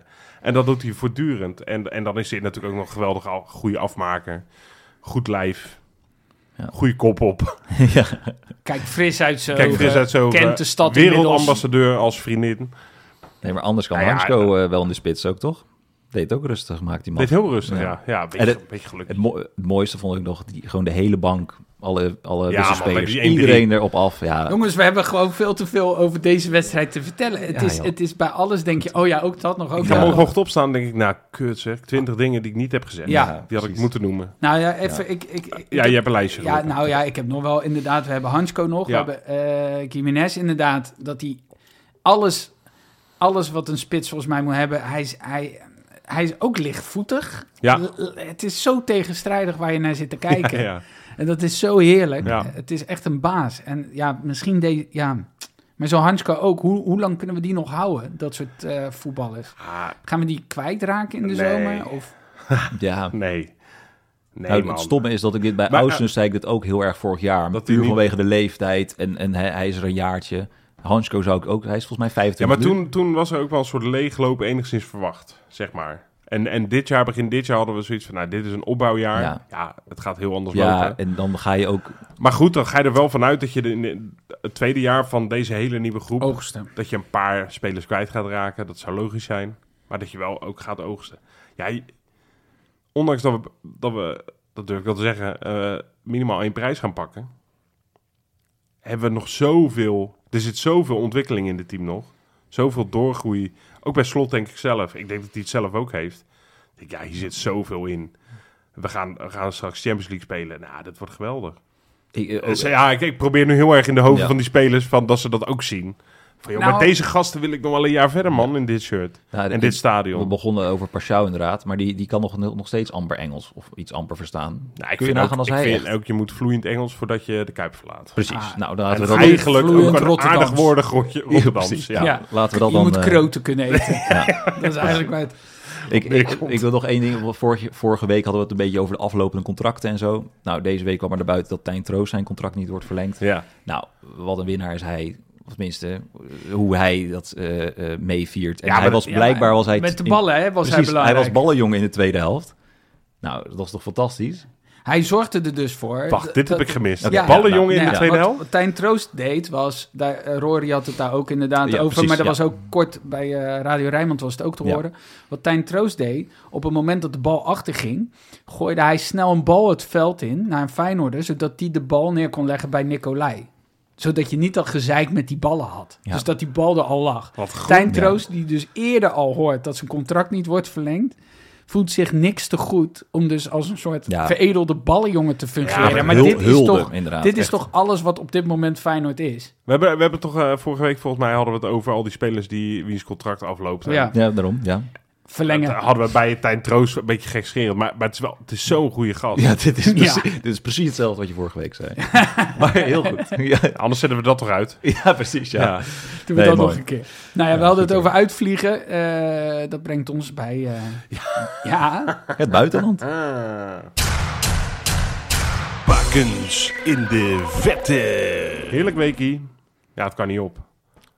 en dat doet hij voortdurend. En, en dan is hij natuurlijk ook nog een geweldig al- goede afmaker. Goed lijf.
Ja.
Goede kop op.
[LAUGHS] ja.
Kijk, fris uit zijn
Kijk,
ogen.
Fris uit zo.
eh,
eh,
Kent de stad inmiddels.
Wereldambassadeur als vriendin.
Nee, maar anders kan
Nou ja,
Hansko eh, wel in de spits ook, toch? Deed het ook rustig, maakt die man.
Deed heel rustig,
Ja.
ja. Ja, een
En
beetje,
het-
een beetje gelukkig.
Het, mo- het mooiste vond ik nog die, gewoon de hele bank, alle, alle
Ja,
wisselspelers,
man, bij die 1-3.
iedereen erop af. Ja,
Jongens, we hebben gewoon veel te veel over deze wedstrijd te vertellen. Het,
Ja,
is,
joh.
het is bij alles denk je, oh ja, ook dat nog, ook
Ik
Ja.
ga
dat nog.
morgenochtend opstaan en denk ik, nou, kut zeg. Twintig dingen die ik niet heb gezegd.
Ja,
die had ik
precies.
moeten noemen.
Nou ja, even, ik... ik, ik-
Ja, je hebt een lijstje.
Ja,
geroepen.
nou ja, ik heb nog wel inderdaad. We hebben Hansko nog.
Ja.
We hebben eh Jiménez inderdaad. Dat hij alles, alles wat een spits volgens mij moet hebben. Hij is, hij, hij is ook lichtvoetig.
Ja.
L- l- Het is zo tegenstrijdig waar je naar zit te
[LAUGHS] Ja,
kijken.
ja.
En dat is zo heerlijk.
Ja.
Het is echt een baas. En ja, misschien deed. Ja. Maar zo Hansko ook. Hoe, hoe lang kunnen we die nog houden? Dat soort eh, voetballers.
Ah,
Gaan we die kwijtraken in de
Nee.
zomer? Of,
ja.
nee. Nee,
Nou,
man.
het stomme is dat ik dit bij
Maar,
Ausnes zei ik dit ook heel erg vorig jaar.
Dat
puur
hij niet-
vanwege de leeftijd en, en hij, hij is er een jaartje. Hansko zou ik ook, hij is volgens mij
Ja,
25
maar toen, toen was er ook wel een soort leegloop enigszins verwacht, zeg maar. En, en dit jaar, begin dit jaar, hadden we zoiets van, nou, dit is een opbouwjaar.
Ja.
Ja, het gaat heel anders
nu. Ja,
lopen.
en dan ga je ook...
Maar goed, dan ga je er wel vanuit dat je de- in de- het tweede jaar van deze hele nieuwe groep...
oogsten.
dat je een paar spelers kwijt gaat raken. Dat zou logisch zijn. Maar dat je wel ook gaat oogsten. Ja, je- ondanks dat we, dat we, dat durf ik wel te zeggen, eh, minimaal één prijs gaan pakken. Hebben we nog zoveel, er zit zoveel ontwikkeling in dit team nog. Zoveel doorgroei. Ook bij Slot denk ik zelf. Ik denk dat hij het zelf ook heeft. Ik denk, ja, hier zit zoveel in. We gaan, we gaan straks Champions League spelen. Nou, dat wordt geweldig.
Ik, eh,
Dus ja, ik, ik probeer nu heel erg in de hoofden
Ja.
van die spelers van dat ze dat ook zien. Van, joh,
Nou-
maar deze gasten wil ik nog wel een jaar verder, man, in dit shirt.
nou,
en dit
we
stadion.
begonnen over Parchau inderdaad, maar die, die kan nog, nog steeds amper Engels of iets amper verstaan.
Nou, ik
Kun je
vind,
nagaan
ook,
als
ik
hij
vind
echt-
ook, je moet vloeiend Engels voordat je de Kuip verlaat.
Precies.
Ah,
nou, dan laten we
en
dat
eigenlijk ook
vloeiend
een aardig
Rotterdams.
woorden grootje Rotterdams.
precies.
Ja,
Ja.
Laten we dat
je
dan,
moet
eh,
kroten
[LAUGHS]
kunnen eten. [LAUGHS] Dat is eigenlijk waar het
Ik, ik, ik wil nog één ding. Vorige, vorige week hadden we het een beetje over de aflopende contracten en zo. Nou, deze week kwam er naar buiten dat Tijn Troost zijn contract niet wordt verlengd.
Ja.
Nou, wat een winnaar is hij. Of tenminste, hoe hij dat eh eh, meeviert. En
Ja, maar
hij
dat-
was
Ja,
blijkbaar...
maar
was hij
Met de
in-
ballen hè, was hij
precies,
belangrijk.
was ballenjongen in de tweede helft. Nou, dat was toch fantastisch?
Hij zorgde er dus voor.
Wacht, dit
dat-
heb ik gemist.
Oké.
Ballenjongen in
nou
de
ja,
tweede
wat-
helft?
Wat Tijn Troost deed was, daar, eh, Rory had het daar ook inderdaad
Ja,
over,
precies,
maar dat
ja.
was ook kort bij eh, Radio Rijnmond was het ook te
Ja.
horen. Wat Tijn Troost deed, op het moment dat de bal achterging, gooide hij snel een bal het veld in naar een Feyenoorder, zodat die de bal neer kon leggen bij Nicolai. Zodat je niet dat gezeik met die ballen had.
Ja.
Dus dat die bal er al lag.
Wat goed.
Tijn
Ja.
Troost, die dus eerder al hoort dat zijn contract niet wordt verlengd, voelt zich niks te goed om dus als een soort
Ja.
veredelde ballenjongen te fungeren.
Ja,
maar
Hul-
dit is
hulde,
toch,
Ah,
inderdaad.
dit is
Echt.
toch alles wat op dit moment Feyenoord is.
We hebben, we hebben toch eh, vorige week, volgens mij, hadden we het over al die spelers die wiens contract afloopt. hè.
Ja,
Ja, daarom. Ja,
Dat
verlengen.
hadden we bij Tijn Troost een beetje gekscherend. Maar, maar het is wel, het is zo'n goede gast.
ja, dit, is
Ja.
precies, dit is precies hetzelfde wat je vorige week zei. [LAUGHS] maar heel goed. Ja,
Anders zetten we dat toch uit.
ja precies. Ja.
Ja.
Doen we
Nee,
dat
mooi.
nog een keer. Nou ja, we hadden het over uitvliegen. Eh, dat brengt ons bij... eh, ja.
Het buitenland.
Bakens in de vette.
Heerlijk weekie. Ja, het kan niet op.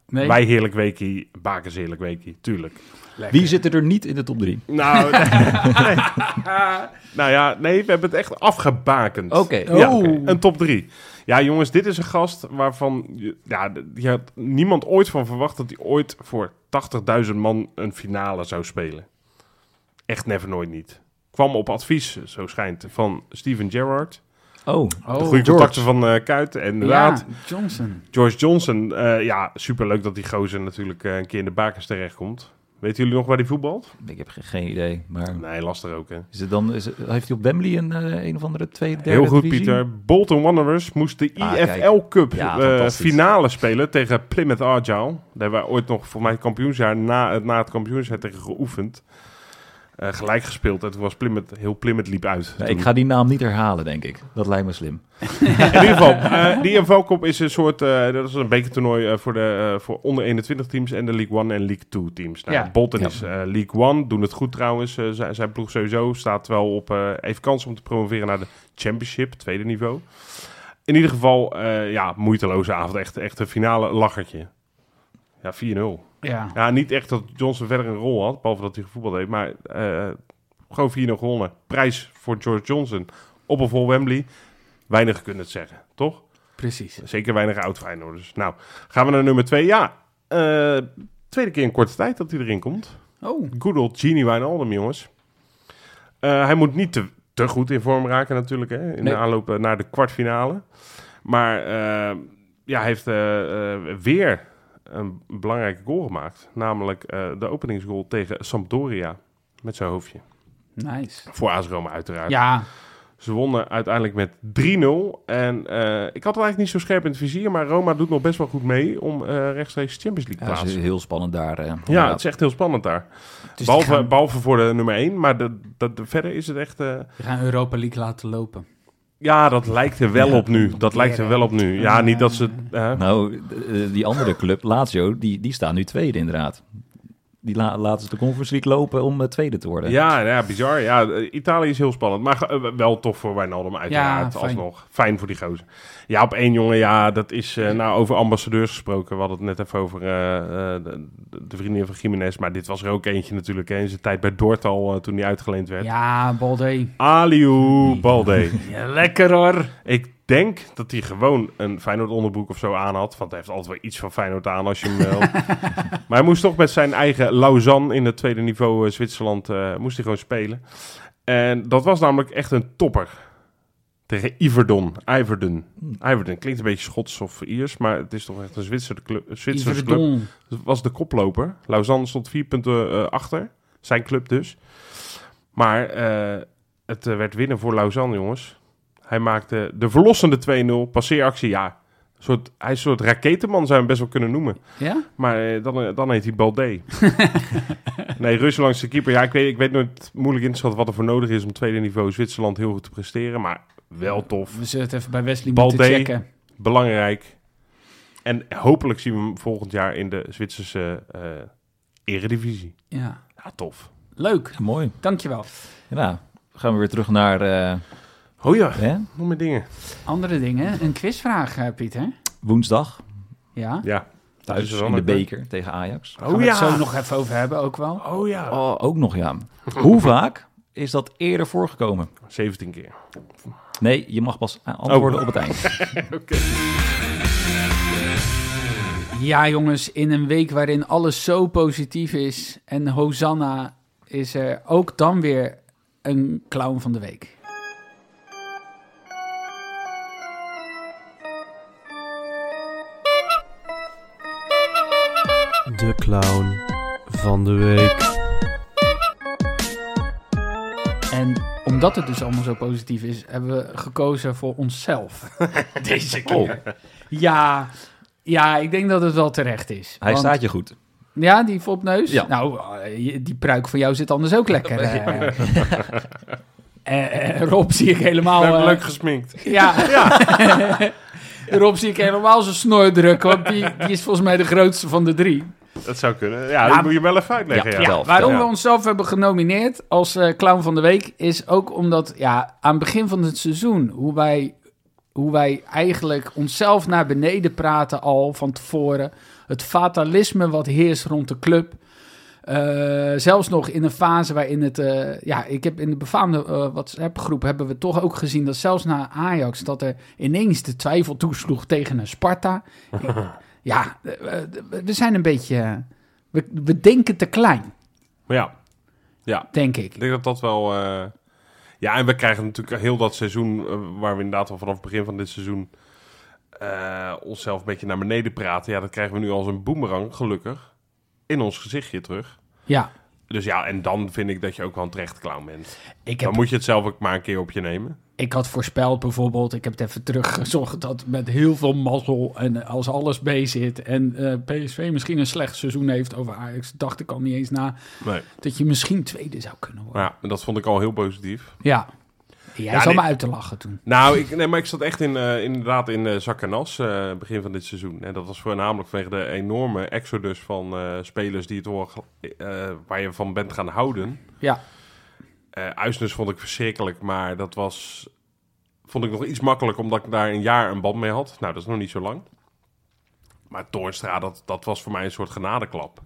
Nee.
Wij heerlijk weekie, Bakers heerlijk weekie, tuurlijk.
Lekker.
Wie zitten er niet in de top 3?
[LAUGHS]
Nou, nee. [LAUGHS] nou ja, nee, we hebben het echt afgebakend.
Oké.
Ja,
Oh.
oké. een top 3. Ja, jongens, dit is een gast waarvan je- ja, d- je had niemand ooit van verwacht dat hij ooit voor 80.000 man een finale zou spelen. Echt never nooit niet. Kwam op advies, zo schijnt, van Steven Gerrard.
Oh,
Oh,
De goede
George.
contacten van eh Kuit. En inderdaad,
Ja, Johnson.
George Johnson. eh ja, superleuk dat die gozer natuurlijk eh, een keer in de bakens terechtkomt. Weten jullie nog waar die voetbalt?
ik heb ge- geen idee. Maar
Nee, lastig ook, hè?
is het dan, is het- heeft hij op Wembley een, eh, een of andere tweede, derde
Heel goed,
divisie?
Pieter. Bolton Wanderers moest de
Ah,
IFL Cup
Ja,
eh,
fantastisch.
finale spelen tegen Plymouth Argyle. Daar hebben we ooit nog voor mijn kampioensjaar na, het- na het kampioensjaar tegen geoefend. Eh, gelijk gespeeld. En toen was Plymouth, heel Plymouth liep uit.
Nee,
Toen-
ik ga die naam niet herhalen, denk ik. Dat lijkt me slim.
In ieder geval, eh, die IFL Cup is een soort, eh, dat is een bekertoernooi eh, voor, de, eh, voor onder 21 teams en de League 1 en League 2 teams. Nou,
Ja.
Bolton
Ja.
is eh, League 1, doen het goed trouwens. Eh, zijn, zijn ploeg sowieso staat wel op, eh, heeft kans om te promoveren naar de Championship, tweede niveau. In ieder geval, eh, ja, moeiteloze avond. Echt, echt een finale lachertje. Ja, 4-0.
Ja.
Ja, niet echt dat Johnson verder een rol had, behalve dat hij gevoetbald heeft, maar eh, gewoon 4-0 gewonnen. Prijs voor George Johnson op een vol Wembley. Weinig kunnen het zeggen, toch?
precies.
Zeker weinig oud Feyenoorders. Nou, gaan we naar nummer 2. Ja, eh, tweede keer in korte tijd dat hij erin komt.
Oh,
Good old Genie Wijnaldum, jongens. Eh, hij moet niet te, te goed in vorm raken natuurlijk, hè, in
Nee.
de aanloop eh, naar de kwartfinale. Maar eh, ja, hij heeft eh, eh, weer een belangrijke goal gemaakt. Namelijk eh, de openingsgoal tegen Sampdoria met zijn hoofdje.
nice.
Voor AS Roma uiteraard.
Ja,
Ze wonnen uiteindelijk met 3-0. En eh, ik had het eigenlijk niet zo scherp in het vizier, maar Roma doet nog best wel goed mee om eh, rechtstreeks Champions
Ja,
League
dat
plaats.
is
Ja,
heel spannend daar. eh,
het
inderdaad.
is echt heel spannend daar.
dus
behalve,
die, gaan,
behalve voor de nummer 1, maar de, de, de- verder is het echt... eh,
die gaan Europa League laten lopen.
ja, dat lijkt er wel
Ja.
op nu. Dat lijkt er wel op nu. Ja, niet dat ze... eh,
Nou, eh, die andere club, Lazio, die, die staan nu tweede inderdaad. Die la- laten ze de Conference League lopen om eh, tweede te worden.
ja, nou ja, bizar. Ja, eh, Italië is heel spannend. Maar eh, wel tof voor Wijnaldum uiteraard.
Ja, fijn.
alsnog. Fijn voor die gozer. Ja, op één jongen. Ja, dat is eh, nou over ambassadeurs gesproken. We hadden het net even over eh, eh, de, de vriendin van Jiménez. Maar dit was er ook eentje natuurlijk. Hè, in zijn tijd bij Dortal eh, toen hij uitgeleend werd.
Ja, Balde.
Aliou Balde.
Ja, lekker hoor.
Ik denk dat hij gewoon een Feyenoord onderbroek of zo aan had. Want hij heeft altijd wel iets van Feyenoord aan als je hem wil. maar hij moest toch met zijn eigen Lausanne in het tweede niveau eh, Zwitserland eh, moest hij gewoon spelen. En dat was namelijk echt een topper. Tegen Iverdon. Iverdon. Iverdon klinkt een beetje Schots of Iers, maar het is toch echt een Zwitserse club. Zwitserse club.
Iverdon.
Dat was de koploper. Lausanne stond vier punten eh, achter. Zijn club dus. Maar eh, het eh, werd winnen voor Lausanne, jongens. Hij maakte de verlossende 2-0. Passeeractie, ja. Een Soort, hij is een soort raketenman, zou je hem best wel kunnen noemen.
Ja?
Maar eh, dan, eh, dan heet hij Baldé. nee, Rus langs de keeper. Ja, ik weet, ik weet nooit moeilijk in te schatten wat er voor nodig is om tweede niveau Zwitserland heel goed te presteren. Maar wel tof.
We zullen het even bij Wesley
Balde.
moeten checken.
Belangrijk. En hopelijk zien we hem volgend jaar in de Zwitserse eh, eredivisie.
Ja.
Ja, tof.
Leuk,
Ja, mooi.
dankjewel.
Ja, nou, gaan we weer terug naar... eh,
Oh ja,
hè?
nog meer dingen.
Andere dingen. Een quizvraag, eh, Pieter.
Woensdag,
Ja.
Ja,
thuis in de beker tegen Ajax.
Gaan
Oh
we het zo
ja.
nog even over hebben ook wel.
Oh ja.
Oh, ook nog, ja.
[LAUGHS]
Hoe vaak is dat eerder voorgekomen?
17 keer.
Nee, je mag pas antwoorden
Oh.
op het eind.
Ja, jongens, in een week waarin alles zo positief is en Hosanna, is er ook dan weer een clown van de week.
De clown van de week.
En omdat het dus allemaal zo positief is, hebben we gekozen voor onszelf. [LAUGHS] Deze
Oh,
keer. [LAUGHS] Ja, ja, ik denk dat het wel terecht is.
Hij
Want-
staat je goed.
Ja, die fopneus?
Ja.
Nou, eh, je- die pruik van jou zit anders ook
[LAUGHS]
lekker. eh. Eh, eh, Rob zie ik helemaal...
leuk,
eh,
Nou, leuk
[LAUGHS]
gesminkt.
Ja. Rob zie ik helemaal zijn snor drukken, want die, die is volgens mij de grootste van de drie.
Dat zou kunnen. Ja,
Ja,
dat moet je wel even uitleggen. Ja,
ja. Elf,
Waarom
ja.
we onszelf hebben genomineerd als eh, clown van de week is ook omdat ja, aan het begin van het seizoen, hoe wij, hoe wij eigenlijk onszelf naar beneden praten al van tevoren, het fatalisme wat heerst rond de club, eh, Eh, zelfs nog in een fase waarin het... eh, ja, ik heb in de befaamde eh, WhatsApp-groep hebben we toch ook gezien dat zelfs na Ajax... dat er ineens de twijfel toesloeg tegen een Sparta. ja, eh, eh, we zijn een beetje... eh, we, we denken te klein,
Maar ja,
denk ik.
ik denk dat dat wel... eh, Ja, en we krijgen natuurlijk heel dat seizoen... eh, waar we inderdaad al vanaf het begin van dit seizoen... eh, onszelf een beetje naar beneden praten. Ja, dat krijgen we nu als een boemerang, gelukkig. In ons gezichtje terug.
Ja,
Dus ja, en dan vind ik dat je ook wel een terecht clown bent.
ik
Dan
heb
moet je het zelf ook maar een keer op je nemen.
Ik had voorspeld bijvoorbeeld, ik heb het even teruggezocht, dat met heel veel mazzel en eh, als alles mee zit en eh, PSV misschien een slecht seizoen heeft over Ajax, dacht ik al niet eens na,
Nee.
dat je misschien tweede zou kunnen worden.
Maar ja, dat vond ik al heel positief.
Ja. Jij
Ja,
zal
nee.
me uit te lachen toen.
Nou, ik, nee, maar ik zat echt in, eh, inderdaad in eh zak en as eh, begin van dit seizoen. En dat was voornamelijk vanwege de enorme exodus van eh, spelers die het horen, eh, waar je van bent gaan houden.
Ja.
Eh Uisnes vond ik verschrikkelijk, maar dat was, vond ik nog iets makkelijk, omdat ik daar een jaar een band mee had. Nou, dat is nog niet zo lang. Maar Toornstra, dat, dat was voor mij een soort genadeklap.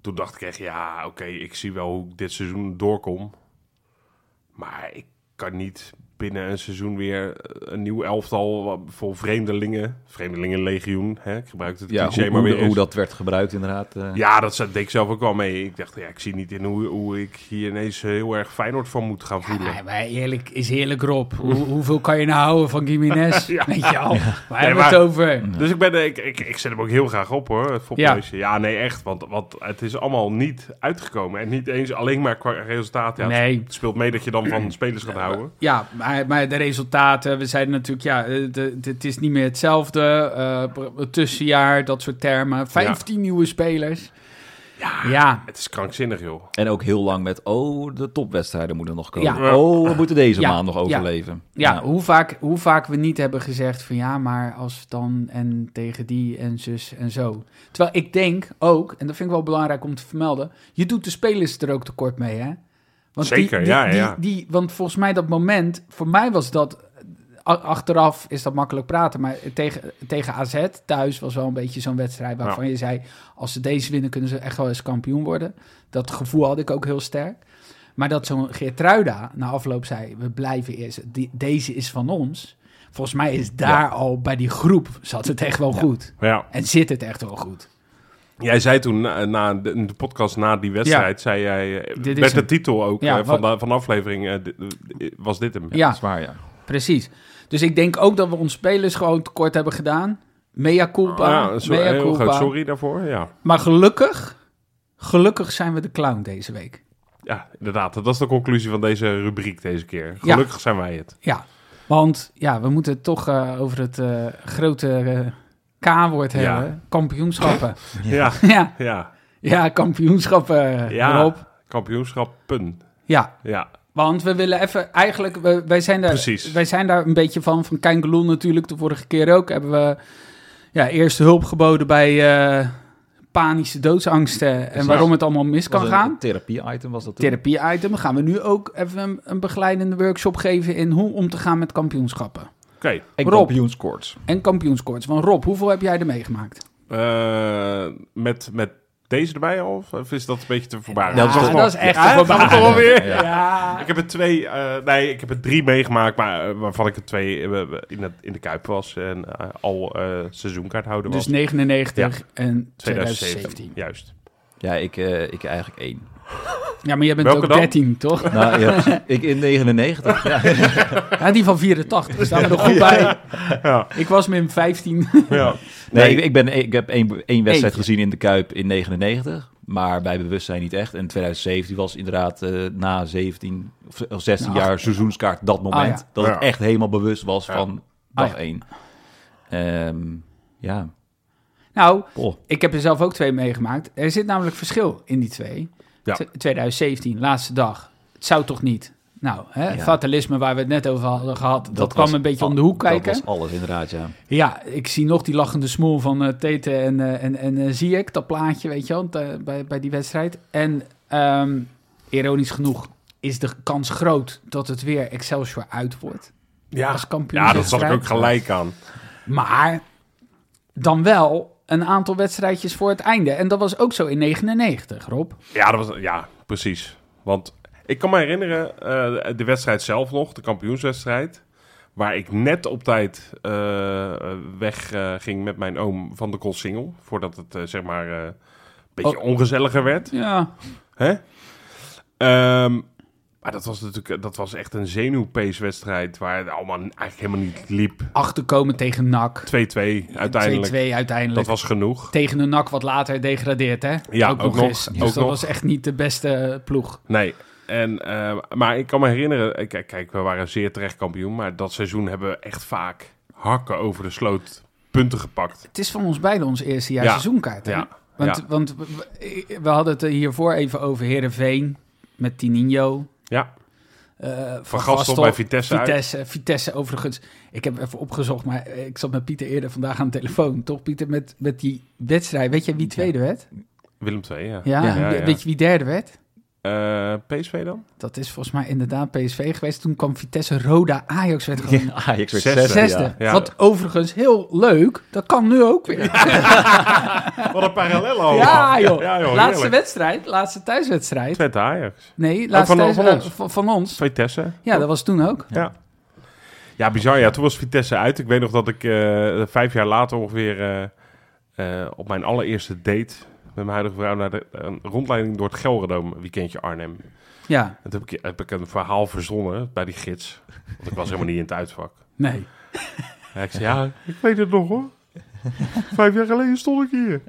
Toen dacht ik echt, ja, oké, ik zie wel hoe ik dit seizoen doorkom. Maar ik kan niet binnen een seizoen weer eh, een nieuw elftal vol vreemdelingen, vreemdelingenlegioen, hè, ik gebruik het
Ja,
cliché
hoe,
maar
hoe,
weer
hoe
eens.
dat werd gebruikt inderdaad. eh.
Ja, dat zat- deed ik zelf ook wel mee. Ik dacht, ja, ik zie niet in hoe, hoe ik hier ineens eh, heel erg Feyenoord van moet gaan voelen.
Maar, maar eerlijk is eerlijk Rob, Hoe- hoeveel kan je nou houden van [LAUGHS] Gimenez?
Ja.
Weet je al, waar hebben we
maar-
het over?
Dus ik, ben, eh, ik, ik, ik zet hem ook heel graag op hoor, het fopneusje. Ja. nee, echt. Want, want het is allemaal niet uitgekomen. En niet eens alleen maar qua resultaat. Ja, het-
Nee.
Het speelt mee dat je dan
[CLEARS THROAT]
van spelers gaat houden.
Ja, maar, maar de resultaten, we zeiden natuurlijk, ja, eh, de- de- het is niet meer hetzelfde. eh, pr- het tussenjaar, dat soort termen. 15 nieuwe spelers. Ja, ja,
Het is krankzinnig joh.
En ook heel lang met, oh, de topwedstrijden moeten nog komen.
Ja.
Oh, we moeten deze
Ja,
maand nog
ja.
overleven. Nou,
Hoe, vaak, hoe vaak we niet hebben gezegd van ja, maar als dan en tegen die en zus en zo. Terwijl ik denk ook, en dat vind ik wel belangrijk om te vermelden, je doet de spelers er ook tekort mee, hè? Want die-
Zeker,
die,
ja,
die-
ja.
die- want volgens mij dat moment, voor mij was dat eh, A- Achteraf is dat makkelijk praten, maar tegen, tegen AZ thuis was wel een beetje zo'n wedstrijd waarvan je zei: als ze deze winnen, kunnen ze echt wel eens kampioen worden. Dat gevoel had ik ook heel sterk. Maar dat zo'n Geertruida na afloop zei: we blijven eerst, die- deze is van ons. Volgens mij is daar al bij die groep zat het echt wel goed.
Maar ja,
En zit het echt wel goed.
jij zei toen na, na de, in de podcast na die wedstrijd, zei jij, eh,
Dit is
met de
hem.
titel ook
Ja,
eh, van,
wat-
de, van de aflevering, eh, di- eh, was dit hem.
Ja,
Zwaar, ja.
precies. Dus ik denk ook dat we ons spelers gewoon tekort hebben gedaan. Mea culpa.
Ah, Ja, zo,
mea
heel groot
culpa.
sorry daarvoor. Ja.
Maar gelukkig, gelukkig zijn we de clown deze week.
ja, inderdaad. Dat is de conclusie van deze rubriek deze keer.
Ja.
Gelukkig zijn wij het.
Ja, want ja, we moeten het toch eh, over het eh, grote eh, K-woord
Ja.
hebben. Kampioenschappen. [LAUGHS]
Ja,
ja,
ja.
ja, kampioenschappen,
Ja.
ja. Rob.
Kampioenschap, pun.
Ja,
Ja,
want we willen even, eigenlijk, we, wij, zijn daar,
Precies.
wij zijn daar een beetje van, van Kangeloel natuurlijk, de vorige keer ook, hebben we ja, eerste hulp geboden bij eh, panische doodsangsten en
Precies.
waarom het allemaal mis kan
Was een
gaan.
therapie-item was dat toen.
therapie-item. Gaan we nu ook even een, een begeleidende workshop geven in hoe om te gaan met kampioenschappen.
oké.
en
Rob.
kampioenskoorts.
En kampioenskoorts. Want Rob, hoeveel heb jij er meegemaakt?
Eh, met, met deze erbij al? Of- Of is dat een beetje te voorbarig?
Dat is toch-
dat is echt
Ja,
een
dat is toch wel
verbaasd.
weer?
Ja.
Ik heb er twee, eh, nee, ik heb er drie meegemaakt, maar eh, waarvan ik er twee eh, in, het, in de Kuip was en eh, al eh seizoenkaarthouder was.
Dus 99 en
2017.
2017.
Juist.
Ja, ik, eh, ik eigenlijk één.
Ja, maar jij bent
Welke
ook
dan?
13, toch?
Nou, ja, precies. ik [LAUGHS] in 99. Ja.
Ja, die van 84. Staan we
[LAUGHS]
er goed bij.
Ja.
Ik was min 15.
Ja.
Nee,
Nee.
ik, ik ben, ik heb één, één wedstrijd
Eentje.
gezien in de Kuip in 99. Maar bij bewustzijn niet echt. En 2017 was inderdaad eh, na 17 of eh, of 16
Nou,
jaar seizoenskaart dat moment.
Ah, ja.
Dat
Ja.
ik echt helemaal bewust was
Ja.
van dag
ja.
1. Ehm, ja,
[LAUGHS] Nou,
Poh.
ik heb er zelf ook twee meegemaakt. Er zit namelijk verschil in die twee.
Ja.
T- 2017, laatste dag. Het zou toch niet? Nou, hè,
Ja.
fatalisme waar we het net over hadden gehad, dat, kwam
was
een beetje
al-
om de hoek kijken.
Dat was alles inderdaad,
[LAUGHS]
ja.
Ja, ik zie nog die lachende smoel van eh Tete en, eh, en, en eh, Ziyech, dat plaatje, weet je wel, te- bij, bij die wedstrijd. En ehm, ironisch genoeg is de kans groot dat het weer Excelsior uit wordt
Ja.
Ah,
als kampioen.
ja, dat zat ik ook gelijk aan.
Maar dan wel een aantal wedstrijdjes voor het einde. En dat was ook zo in 99, Rob.
Ja, dat was, ja precies. Want ik kan me herinneren, eh, de wedstrijd zelf nog, de kampioenswedstrijd. Waar ik net op tijd eh, weg eh, ging met mijn oom van de Koolsingel. Voordat het eh, zeg maar eh, een beetje ongezelliger werd.
Ja,
Hè? Ehm, maar dat was natuurlijk eh, dat was echt een zenuwpeeswedstrijd. Waar het allemaal eigenlijk helemaal niet liep. 2-2
achterkomen tegen NAC.
uiteindelijk.
2-2 uiteindelijk.
Dat was genoeg.
Tegen een NAC wat later degradeert, hè?
Ja, ook nog,
eens. Dus
ook
dat
nog.
was echt niet de beste ploeg.
Nee. En, eh, maar ik kan me herinneren, eh, kijk, kijk, we waren zeer terecht kampioen, maar dat seizoen hebben we echt vaak hakken over de sloot punten gepakt.
Het is van ons beiden ons eerste jaar
Ja,
seizoenkaart, hè?
Ja,
Want,
ja,
want we- we- we hadden het er hiervoor even over Herenveen met Tininho. Eh,
ja.
van,
Van Gastel bij Vitesse uit.
Vitesse, Vitesse overigens. Ik heb even opgezocht, maar eh, ik zat met Pieter eerder vandaag aan de telefoon. Toch, Pieter, met, met die wedstrijd. Weet je wie tweede werd?
Willem II, ja.
Ja?
Ja.
Ja, ja.
Weet je wie derde werd?
Eh, PSV dan?
Dat is volgens mij inderdaad PSV geweest. Toen kwam Vitesse Roda Ajax
[LAUGHS]
werd gewoon
Ajax Ah, werd
Zesde.
zesde.
zesde.
ja.
Ja.
Wat overigens heel leuk. Dat kan nu ook weer.
Wat een
[LAUGHS]
parallel al.
Ja, joh.
Ja, joh,
laatste
heerlijk.
wedstrijd, laatste thuiswedstrijd.
Twente Ajax.
Nee, laatste
van-
thuis-
van
eh,
ons.
van, van ons.
Vitesse.
Ja, dat was toen ook.
Ja. Ja, bizar. Ja, toen was Vitesse uit. Ik weet nog dat ik eh, vijf jaar later ongeveer eh, eh, op mijn allereerste date met mijn huidige vrouw naar de, een rondleiding door het Gelredome, weekendje Arnhem.
Ja,
En toen heb ik, heb ik een verhaal verzonnen bij die gids. Want ik was helemaal niet in het uitvak.
nee.
Ja, ik zei, ja, ik weet het nog hoor. Vijf jaar geleden stond ik hier.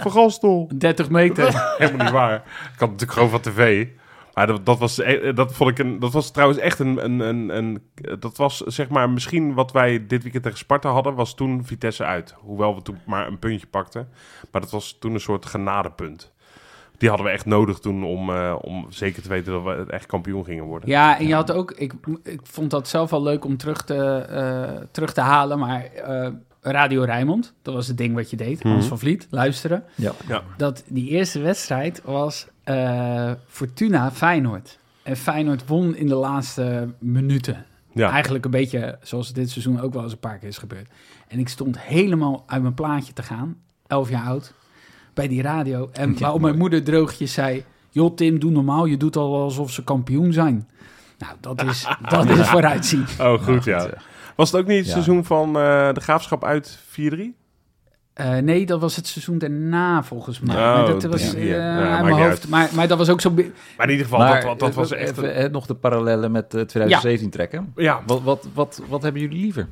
Van Gastel.
30 meter.
Helemaal niet waar. Ik had natuurlijk gewoon van tv. Maar dat, dat, was, e- dat, vond ik een, dat was trouwens echt een, een, een, een... Dat was zeg maar misschien wat wij dit weekend tegen Sparta hadden... was toen Vitesse uit. Hoewel we toen maar een puntje pakten. Maar dat was toen een soort genadepunt. Die hadden we echt nodig toen om, eh, om zeker te weten... dat we echt kampioen gingen worden.
Ja, en je had ook... Ik, ik vond dat zelf wel leuk om terug te, eh, terug te halen, maar... eh, Radio Rijnmond, dat was het ding wat je deed. Hans van Vliet, luisteren.
Ja.
Dat die eerste wedstrijd was eh, Fortuna Feyenoord. En Feyenoord won in de laatste minuten.
Ja.
Eigenlijk een beetje zoals dit seizoen ook wel eens een paar keer is gebeurd. En ik stond helemaal uit mijn plaatje te gaan, elf jaar oud, bij die radio. En waarop mijn moeder droogjes zei: Joh, Tim, doe normaal. Je doet al alsof ze kampioen zijn. Nou, dat
[LAUGHS]
is, dat is vooruitzien.
Oh, goed, ja.
Nou, goed, eh.
Was het ook niet het
Ja.
seizoen van eh, de graafschap uit 4-3?
Eh, nee, dat was het seizoen daarna volgens mij.
Oh,
Maar dat was
ja.
eh,
Ja,
uit
maakt
mijn
niet
hoofd.
uit.
Maar, maar dat was ook zo. bi-
Maar in ieder geval,
Maar
dat, dat was echt...
even,
een-
eh, nog de parallellen met eh, 2017 trekken.
ja,
Wat, wat, wat, wat hebben jullie liever?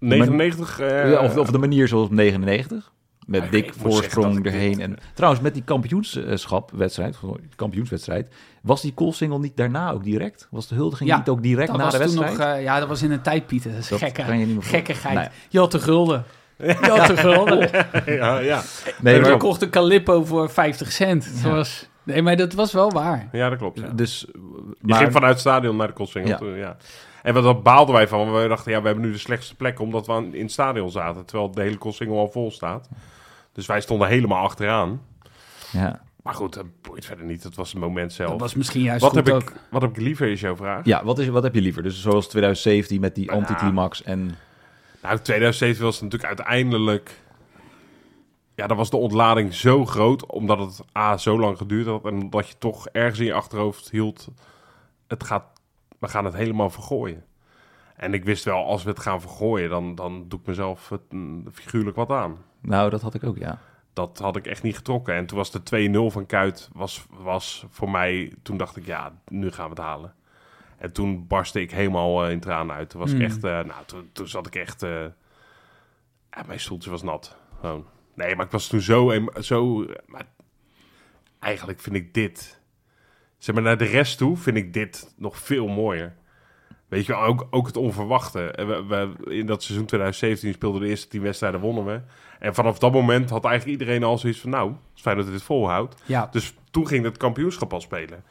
99... eh, Ah,
Ja, of, of de manier zoals op 99? Met
ik
dik
moet zeggen dat
voorsprong
ik
erheen.
dit- eh,
En, trouwens, met die kampioenschapwedstrijd, of kampioenswedstrijd, was die call-single niet daarna ook direct? Was de huldiging
Ja,
niet ook direct
Dat
na
was
de
toen
wedstrijd?
nog, eh, ja, dat was in een tijd, Pieter.
eh,
Dat is
Dat
gekke,
kan je niet meer voor- Nou
gekkigheid.
Nee.
Je had de
[LAUGHS]
gulden. Je had de gulden.
ja, ja.
nee,
eh,
En je
maar,
kocht een Calippo voor 50 cent. Dat was, nee, maar dat was wel waar.
ja, dat klopt. ja.
dus,
Je
maar,
ging vanuit het stadion naar de Kotsingel.
Ja.
toen, Ja. En wat, dat baalden wij van. want We dachten, ja, we hebben nu de slechtste plek omdat we aan- in het stadion zaten. Terwijl de hele Kotsingel al vol staat. Dus wij stonden helemaal achteraan.
ja.
Maar goed, dat boeit verder niet. Dat was het moment
Dat
zelf.
was misschien juist
Wat
goed
heb,
ook.
ik, wat heb ik liever, is jouw vraag.
ja, wat, is, wat heb je liever? Dus zoals 2017 met die anticlimax en...
Nou, 2007 was het natuurlijk uiteindelijk... Ja, dan was de ontlading zo groot, omdat het A, zo lang geduurd had... en omdat je toch ergens in je achterhoofd hield... Het gaat, we gaan het helemaal vergooien. En ik wist wel, als we het gaan vergooien... dan, dan doe ik mezelf het, mm, figuurlijk wat aan.
Nou, dat had ik ook, ja.
Dat had ik echt niet getrokken. En toen was de 2-0 van Kuit was, was voor mij... toen dacht ik, ja, nu gaan we het halen. En toen barstte ik helemaal eh, in tranen uit. Toen was
Mm.
ik echt... eh, nou, toen, toen zat ik echt... eh, ja, mijn stoeltje was nat. Gewoon. Nee, maar ik was toen zo... em- zo maar eigenlijk vind ik dit... Zeg maar, naar de rest toe vind ik dit nog veel mooier. Weet je, wel, ook, ook het onverwachte. En We, we- in dat seizoen 2017 speelden we de eerste tien wedstrijden, wonnen we. En vanaf dat moment had eigenlijk iedereen al zoiets van... Nou, het is fijn dat dit volhoudt.
Ja,
Dus toen ging het kampioenschap al spelen.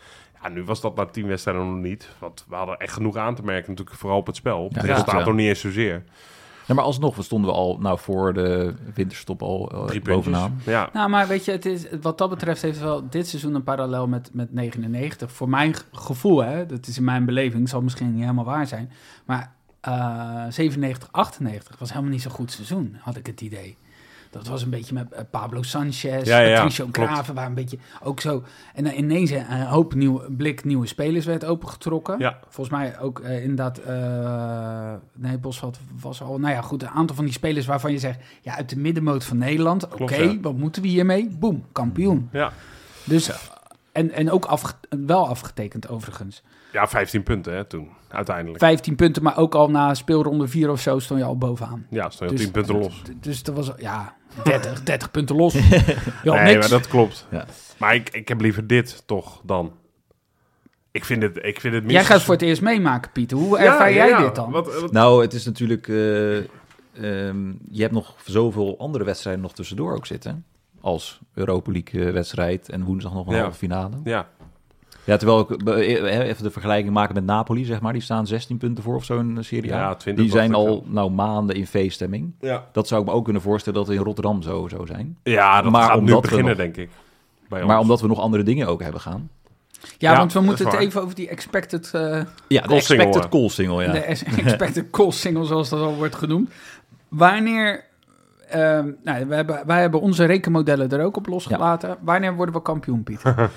Ja, nu was dat na tien wedstrijden nog niet. Want we hadden echt genoeg aan te merken natuurlijk. Vooral op het spel. Op het
ja.
resultaat
Ja.
nog niet eens zozeer.
Nou, maar alsnog, we stonden al nou, voor de winterstop al eh,
Drie puntjes.
bovenaan.
Ja,
nou, maar weet je, het is, wat dat betreft heeft wel dit seizoen een parallel met, met 99. Voor mijn ge- gevoel, hè, dat is in mijn beleving, zal misschien niet helemaal waar zijn. Maar eh, eh, 97, 98 was helemaal niet zo'n goed seizoen, had ik het idee. Dat was een beetje met eh, Pablo Sanchez,
Ja, ja, ja,
Patricio
klopt.
Graven, waar een beetje ook zo... En dan ineens een een hoop nieuw, blik nieuwe spelers werd opengetrokken.
Ja.
Volgens mij ook eh, inderdaad... eh, nee, Bosveld was al... Nou ja, goed, een aantal van die spelers waarvan je zegt... Ja, uit de middenmoot van Nederland. Oké,
ja.
wat moeten we hiermee? Boom, kampioen.
Ja.
Dus... En, en ook afge- wel afgetekend overigens.
Ja, 15 punten hè, toen, uiteindelijk.
15 punten, maar ook al na speelronde 4 of zo stond je al bovenaan.
Ja, stond je
Dus-
10 punten los.
D- Dus dat was, ja,
[LAUGHS]
30, 30 punten los. Ja,
nee,
niks.
maar dat klopt.
Ja.
Maar ik, ik heb liever dit toch dan. Ik vind het, ik vind het
Jij gaat voor het eerst meemaken, Pieter. Hoe
Ja,
ervaar
ja,
jij
ja.
dit dan?
Wat- wat-
Nou, het is natuurlijk. eh, ehm, je hebt nog zoveel andere wedstrijden nog tussendoor ook zitten. Als Europa League eh, wedstrijd en woensdag nog een
Ja.
halve finale.
ja,
Ja, terwijl ik eh, eh, even de vergelijking maken met Napoli, zeg maar. Die staan 16 punten voor of zo in de Serie A.
Ja, 20
die zijn
dacht ik
al nou, maanden in feeststemming.
ja.
Dat zou ik me ook kunnen voorstellen dat het in Rotterdam zo zou zijn.
ja, dat
Maar
gaat nu
omdat we
beginnen,
nog-
denk ik. Bij
Maar
ons.
omdat we nog andere dingen ook hebben gaan.
ja,
Ja,
want we
dat
moeten
is
het
waar.
even over die expected, eh
Ja, de
Goal single,
expected
hè?
call single, ja.
de
[LAUGHS]
es- expected call single, zoals dat al wordt genoemd. Wanneer, ehm, nou, wij, hebben, wij hebben onze rekenmodellen er ook op losgelaten. Wanneer worden we kampioen, Pieter?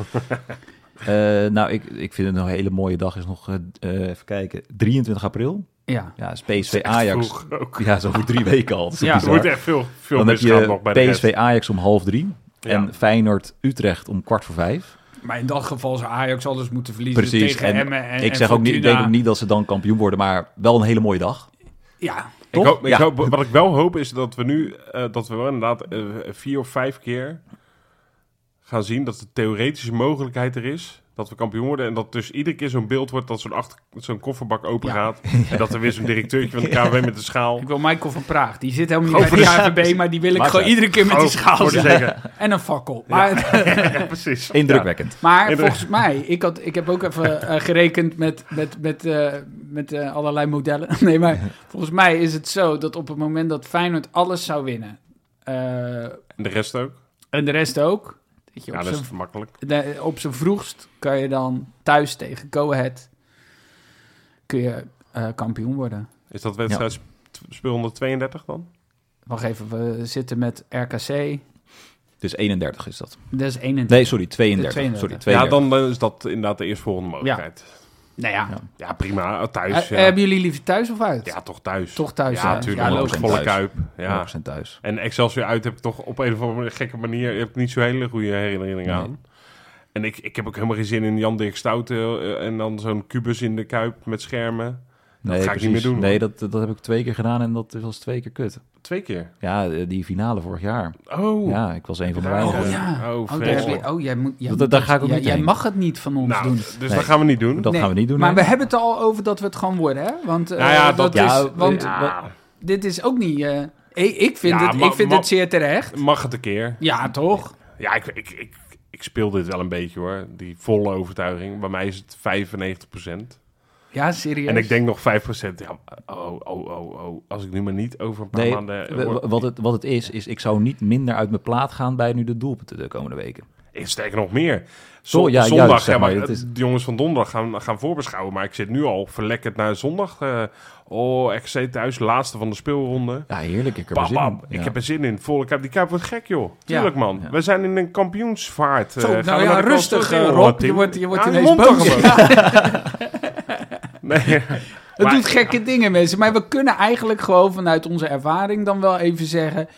Eh, nou, ik, ik vind het nog een hele mooie dag. Is nog, eh, eh, even kijken, 23 april.
ja.
Ja, is PSV Ajax.
Vroeg ook.
Ja, zo voor drie weken al. Dat is toch
Ja.
Er
bizar.
moet echt veel, veel
Dan heb
misgaan nog
je
bij de
PSV
rest.
Ajax om half drie.
Ja.
En Feyenoord Utrecht om kwart voor vijf.
Maar in dat geval zou Ajax alles moeten verliezen
Precies.
tegen
En
Emmen en
ik zeg
en
ook niet, ik
Fortuna.
denk ook niet dat ze dan kampioen worden, maar wel een hele mooie dag.
Ja,
Ik
Toch?
hoop, ik
Ja.
hoop- wat ik wel hoop is dat we nu eh, dat we wel inderdaad eh, vier of vijf keer gaan zien dat de theoretische mogelijkheid er is dat we kampioen worden en dat dus iedere keer zo'n beeld wordt dat zo'n achter- zo'n kofferbak open
Ja. [LAUGHS]
gaat en dat er weer zo'n directeurtje van de KNVB met de schaal
ik wil Michael van Praag. Die zit helemaal
Gewoon
niet bij
voor
de
de-
KVB, maar die wil ik
Maakt
gewoon
uit.
iedere keer met die
Oh,
schaal
voor de
zijn. [LAUGHS]
zeker.
En een fakkel.
[LAUGHS]
Maar,
Ja, precies.
Indrukwekkend.
maar
En de-
volgens mij, ik, had, ik heb ook even
[LAUGHS]
eh, gerekend met, met, met, eh, met eh, allerlei modellen. [LAUGHS] Nee, maar volgens mij is het zo dat op het moment dat Feyenoord alles zou winnen, eh,
Ja. En de rest ook.
en de rest ook, dat je
Ja,
op
dat
zijn
is makkelijk.
de- op zijn vroegst kan je dan thuis tegen Go Ahead kun je, eh, kampioen worden.
Is dat wedstrijd sp- speel 132 dan?
Wacht even, we zitten met RKC.
Dus 31 is dat.
Dat is 21.
Nee, sorry, 32.
32.
Sorry, 32.
Ja, dan eh, is dat inderdaad de eerstvolgende mogelijkheid.
Nou ja.
Ja.
Ja, prima. Thuis.
Eh,
ja.
Hebben jullie liever thuis of uit?
Ja, toch thuis.
Toch thuis,
Ja,
hè?
natuurlijk.
Ja,
Ja,
logisch.
Volle
Thuis.
kuip. Ja.
100% thuis.
En Excelsior uit heb ik toch op een of andere gekke manier heb ik niet zo'n hele goede herinnering aan. En ik, ik heb ook helemaal geen zin in Jan Dirk Stouten eh, en dan zo'n kubus in de kuip met schermen.
Nee,
ga ik
precies.
niet meer doen, hoor.
Nee, dat, dat heb ik twee keer gedaan en dat was twee keer kut.
Twee keer.
Ja, eh, die finale vorig jaar.
Oh.
Ja, ik was een van de
Oh,
weinigen.
Oh ja.
ja. Oh,
Oh, daar
vreselijk.
heb je- oh, jij moet. jij
Dat-
moet
daar ga ik ook
jij-
niet
Jij
heen.
mag het niet van ons
Nou,
doen.
dus
Nee.
dat gaan we niet doen.
Dat
Nee,
gaan we niet doen.
Maar
nee.
we hebben het al over dat we het gaan worden, hè? Want, eh,
Nou ja, dat
is.
Ja,
want
eh,
Ja,
dit is ook niet. eh, ik, ik vind,
Ja,
het,
maar-
ik vind
maar-
het zeer terecht.
mag het een keer.
Ja, toch?
Ja, ik, ik, ik, ik speel dit wel een beetje hoor. Die volle overtuiging. Bij mij is het 95%.
Ja, serieus.
En ik denk nog 5%. Ja, oh, oh, oh, oh. Als ik nu maar niet over een paar
Nee,
maanden... eh,
w-
word-
w- wat het, wat het is, is ik zou niet minder uit mijn plaat gaan bij nu de doelpunten de komende weken.
Ik sterker nog meer.
Zo, Oh, ja,
zondag,
juist, zeg
ja,
maar,
maar,
dat is-
de jongens van donderdag gaan, gaan voorbeschouwen. Maar ik zit nu al verlekkerd naar zondag. eh, oh, XC thuis, laatste van de speelronde.
Ja, heerlijk. Ik heb er
Bam,
zin
bam.
in.
Ik
Ja.
heb er zin in. Volle Kuip, die Kuip wordt gek, joh.
Ja.
Tuurlijk, man.
Ja.
We zijn in een kampioensvaart. eh,
Zo,
gaan
nou
we
ja,
naar de
rustig,
kampioen-
eh,
Oh,
Rob.
Tim.
Je wordt, je wordt
Ja,
ineens
mond toch
boos. [LAUGHS]
gewoon.
Ja,
Nee.
het
Maar-
doet gekke dingen, mensen. Maar we kunnen eigenlijk gewoon vanuit onze ervaring dan wel even zeggen...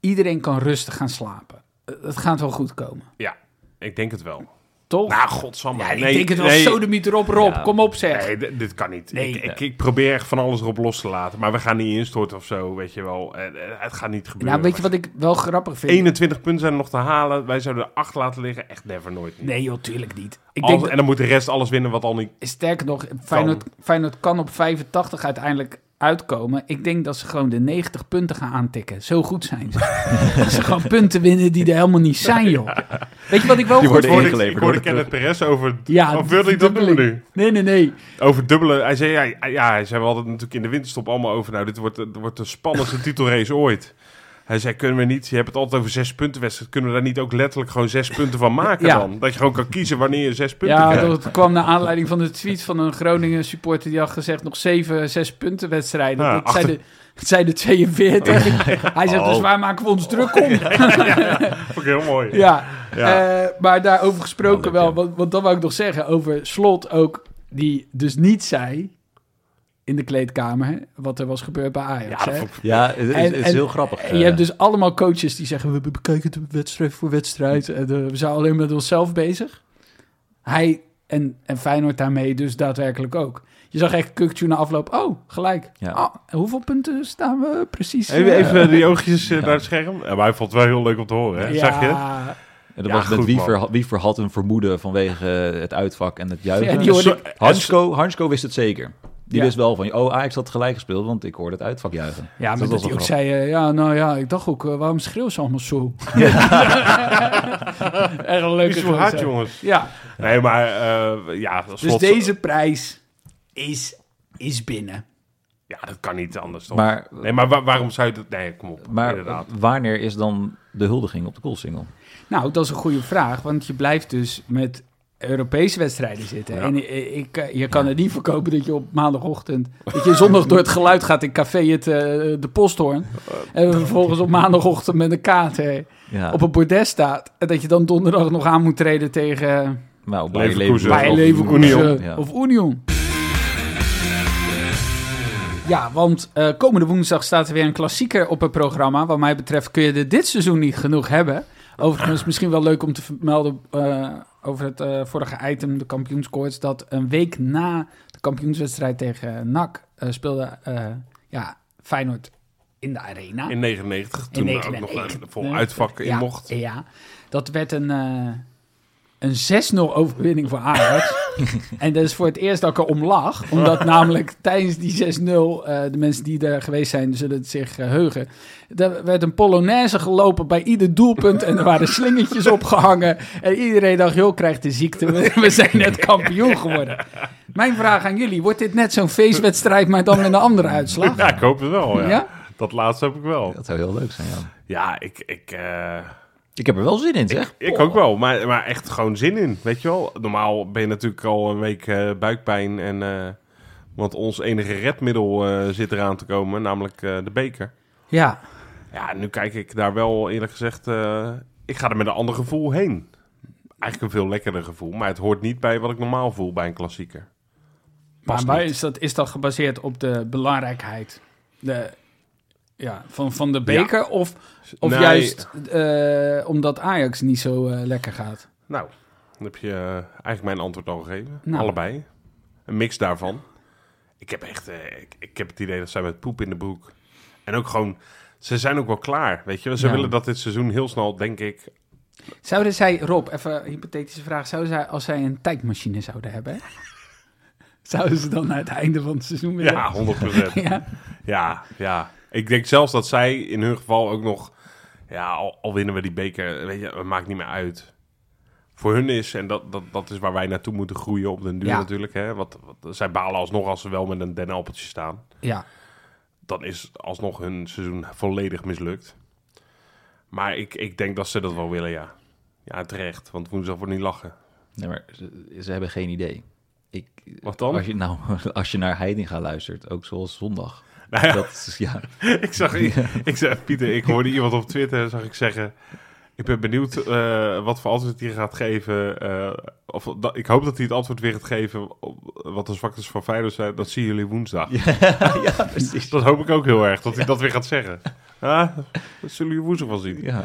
iedereen kan rustig gaan slapen. Eh, Het gaat wel goed komen,
Ja, ik denk het wel.
toch?
Nou, godsamme.
Ja, ik
Nee,
denk het wel.
nee.
Sodemiet erop, Rob.
Ja.
Kom op, zeg.
Nee, dit, dit kan niet.
Nee.
ik, ik, ik probeer echt van alles erop los te laten. Maar we gaan niet instorten of zo, weet je wel. Eh, eh, het gaat niet gebeuren.
nou, weet je wat ik wel grappig vind?
21 punten zijn er nog te halen. Wij zouden er 8 laten liggen. Echt never, nooit.
Nee, joh, tuurlijk niet. Ik
Als-
denk, dat-
En dan moet de rest alles winnen wat al niet...
sterker nog, Feyenoord, Feyenoord kan op 85 uiteindelijk uitkomen. Ik denk dat ze gewoon de 90 punten gaan aantikken. Zo goed zijn ze.
[LAUGHS]
dat ze gewoon punten winnen die er helemaal niet zijn, joh. Weet je wat ik wel
Die
goed
worden
Ik hoorde-
ingeleverd
Ik
door
hoorde
de
Kenneth Perez over...
Ja,
of wilde ik dat doen
verdubbeling.
nu?
Nee, nee, nee.
Over dubbele... Hij zei,
[LAUGHS]
ja, ja, hij zei, we hadden het natuurlijk in de winterstop allemaal over... Nou, dit wordt, dit wordt de spannendste titelrace ooit. Hij zei, kunnen we niet, je hebt het altijd over zes punten wedstrijd, kunnen we daar niet ook letterlijk gewoon zes punten van maken
Ja.
dan? Dat je gewoon kan kiezen wanneer je zes punten
Ja,
krijgt.
dat kwam naar aanleiding van de tweet van een Groningen supporter. Die had gezegd nog zeven, zes punten wedstrijden.
Ja,
dat, zijn de, dat zijn de 42.
[LAUGHS]
Hij zegt,
Oh.
dus waar maken we ons druk om?
Vond ik heel mooi.
Ja,
Ja.
eh, maar daarover gesproken
Leuk,
wel,
ja.
want, want dat wou ik nog zeggen over Slot ook, die dus niet zei in de kleedkamer wat er was gebeurd bij Ajax.
Ja, dat
hè?
vond ik-
Ja, het is,
En-
het is
en-
heel grappig.
En je hebt
eh.
dus allemaal coaches die zeggen, we bekijken het wedstrijd voor wedstrijd. En, eh, we zijn alleen met onszelf bezig. Hij en, en Feyenoord daarmee dus daadwerkelijk ook. Je zag echt Kukcu na afloop, oh, gelijk.
Ja.
Ah, hoeveel punten staan we precies?
Even,
eh,
even die oogjes eh, naar het scherm. Ja, maar hij vond het wel heel leuk om te horen, hè?
ja,
Zag je het?
En dat
Ja,
was met
goed,
Wiever.
man.
Ha- Wiever had een vermoeden vanwege eh, het uitvak en het juichen.
Ja, die hoorde
Zo-
ik-
Hansko, Hansko wist het zeker. Die
Ja.
wist wel van, oh, Ajax had gelijk gespeeld, want ik hoorde het uitvak juichen.
Ja, maar
was
dat
wel
hij ook
grappig.
zei, eh, ja, nou ja, ik dacht ook, eh, waarom schreeuw ze allemaal
[LAUGHS]
zo? Echt een
Niet
leuke
zo hard,
gozer.
jongens.
Ja,
Nee, maar eh, ja, dat
dus
slot-
deze prijs is, is binnen.
Ja, dat kan niet anders, toch?
Maar,
nee, maar wa- waarom zou je dat... Nee, kom op,
maar
inderdaad.
wanneer is dan de huldiging op de koolsingel?
Nou, dat is een goede vraag, want je blijft dus met Europese wedstrijden zitten.
Ja.
En eh, ik, eh, je kan het niet verkopen dat je op maandagochtend, dat je zondag door het geluid gaat in café het, eh, de posthoorn. En vervolgens op maandagochtend met een kaart eh,
Ja,
op een bordes staat. En dat je dan donderdag nog aan moet treden tegen...
nou, bij Leverkusen.
Leverkusen.
Bij
of
Leverkusen
Union.
Ja.
of Union. Ja, want eh, komende woensdag staat er weer een klassieker op het programma. Wat mij betreft kun je er dit seizoen niet genoeg hebben. Overigens, misschien wel leuk om te vermelden eh, over het eh, vorige item, de kampioenskoorts, dat een week na de kampioenswedstrijd tegen NAC eh, speelde eh, ja, Feyenoord in de arena.
In 99, toen er ook nog een
99.
vol uitvak in
ja,
mocht.
Ja, dat werd een, eh, een 6-0 overwinning voor Ajax. en dat is voor het eerst dat ik erom lag. Omdat namelijk tijdens die 6-0, eh, de mensen die daar geweest zijn zullen het zich eh, heugen. Er werd een polonaise gelopen bij ieder doelpunt en er waren slingertjes opgehangen. En iedereen dacht, joh, krijgt de ziekte, we, we zijn net kampioen geworden. Mijn vraag aan jullie, wordt dit net zo'n feestwedstrijd, maar dan met een andere uitslag?
[LAUGHS] Ja, ik hoop het wel, ja.
Ja?
Dat laatste heb ik wel.
Dat zou heel leuk zijn, ja.
Ja, ik... ik eh,
Ik heb er wel zin in, zeg.
Ik ook wel, maar, maar echt gewoon zin in, weet je wel. Normaal ben je natuurlijk al een week eh, buikpijn en... eh, want ons enige redmiddel eh, zit eraan te komen, namelijk eh, de beker.
Ja,
Ja, nu kijk ik daar wel eerlijk gezegd... eh, ik ga er met een ander gevoel heen. Eigenlijk een veel lekkerder gevoel, maar het hoort niet bij wat ik normaal voel bij een klassieker.
Maar
Past
waar
niet.
is dat, is dat gebaseerd op de belangrijkheid de, ja, van, van de beker? Of, of
Nee.
juist eh, omdat Ajax niet zo eh, lekker gaat?
Nou, dan heb je eh, eigenlijk mijn antwoord al gegeven.
Nou.
Allebei. Een mix daarvan. Ik heb echt, eh, ik, ik heb het idee dat zij met poep in de broek. En ook gewoon, ze zijn ook wel klaar, weet je. wel. Ze
Ja.
willen dat dit seizoen heel snel, denk ik.
Zouden zij, Rob, even een hypothetische vraag. Zouden zij, als zij een tijdmachine zouden hebben, [LAUGHS] zouden ze dan naar het einde van het seizoen willen?
Ja, 100%.
[LAUGHS] Ja.
ja, ja. Ik denk zelfs dat zij in hun geval ook nog, ja, al, al winnen we die beker, weet je, het maakt niet meer uit. Voor hun is, en dat, dat, dat is waar wij naartoe moeten groeien op den duur
Ja.
natuurlijk. Hè? Want, want zij balen alsnog als ze wel met een dennenappeltje staan.
ja.
dan is alsnog hun seizoen volledig mislukt. Maar ik, ik denk dat ze dat wel willen, ja. Ja, terecht, want woensdag wordt niet lachen. [LAUGHS]
Nee, maar ze, ze hebben geen idee. Ik,
Wat dan?
Als je, nou, [LAUGHS] als je naar Heidinga luistert, ook zoals zondag.
Nou [LAUGHS] ja,
Dat is, ja,
[LAUGHS] ik
[LAUGHS]
zag, ik, zag Pieter, ik hoorde iemand op Twitter, zag ik zeggen... Ik ben benieuwd eh, wat voor antwoord hij gaat geven. eh, of, dat- ik hoop dat hij het antwoord weer gaat geven op wat de zwaktes van Feyenoord zijn. Dat zien jullie woensdag.
ja precies.
Dat hoop ik ook heel erg, dat hij dat weer gaat
[LAUGHS]
zeggen. Ah, dat zullen jullie woensdag wel zien.
Ja.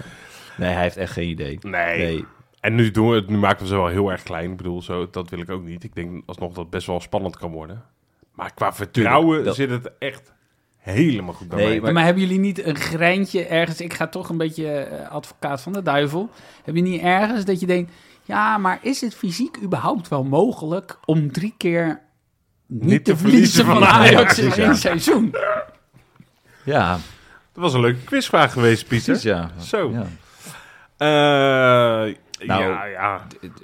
Nee, hij heeft echt geen idee.
nee.
Nee,
En nu, doen we het, nu maken we ze wel heel erg klein. Ik bedoel, zo, dat wil ik ook niet. Ik denk alsnog dat het best wel spannend kan worden. Maar qua vertrouwen
Tuurlijk, dat-
zit het echt helemaal goed bij
Nee,
mij.
Maar, hebben jullie niet een greintje ergens? Ik ga toch een beetje eh, advocaat van de duivel. Heb je niet ergens dat je denkt: ja, maar is het fysiek überhaupt wel mogelijk om drie keer niet, te verliezen van Ajax in
precies, ja.
één seizoen?
Ja,
Dat was een leuke quizvraag geweest, Pieter.
precies ja.
Zo.
Ja.
Eh,
Nou,
ja, ja.
Het-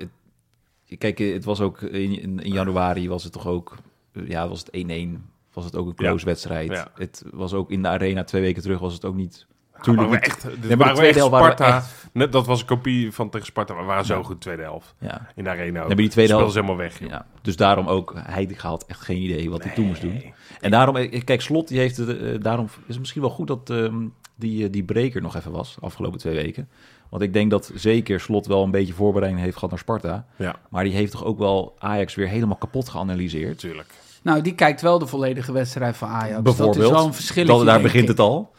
het- kijk, het was ook in, in, in januari was het toch ook, eh, ja, was het 1-1, was het ook een close wedstrijd.
Ja.
Het was ook in de arena twee weken terug was het ook niet
Tuurlijk,
maar
echt, dit
maar de
waren we
tweede
echt
helft waren we
Sparta.
echt-
Net, dat was een kopie van tegen Sparta. maar We waren zo goed tweede helft
Ja.
in de arena. Ook.
maar die tweede
Speelden ze
helft-
helemaal weg. joh.
Ja, dus daarom ook, Heidegger had echt geen idee wat hij toen moest doen. En daarom, eh, kijk, Slot, die heeft, het, eh, daarom is het misschien wel goed dat ehm, die, eh, die breker nog even was, afgelopen twee weken. Want ik denk dat zeker Slot wel een beetje voorbereiding heeft gehad naar Sparta.
Ja,
Maar die heeft toch ook wel Ajax weer helemaal kapot geanalyseerd.
natuurlijk.
Nou, die kijkt wel de volledige wedstrijd van Ajax.
Bijvoorbeeld.
dus Dat is wel een verschil.
Dat- daar begint het al.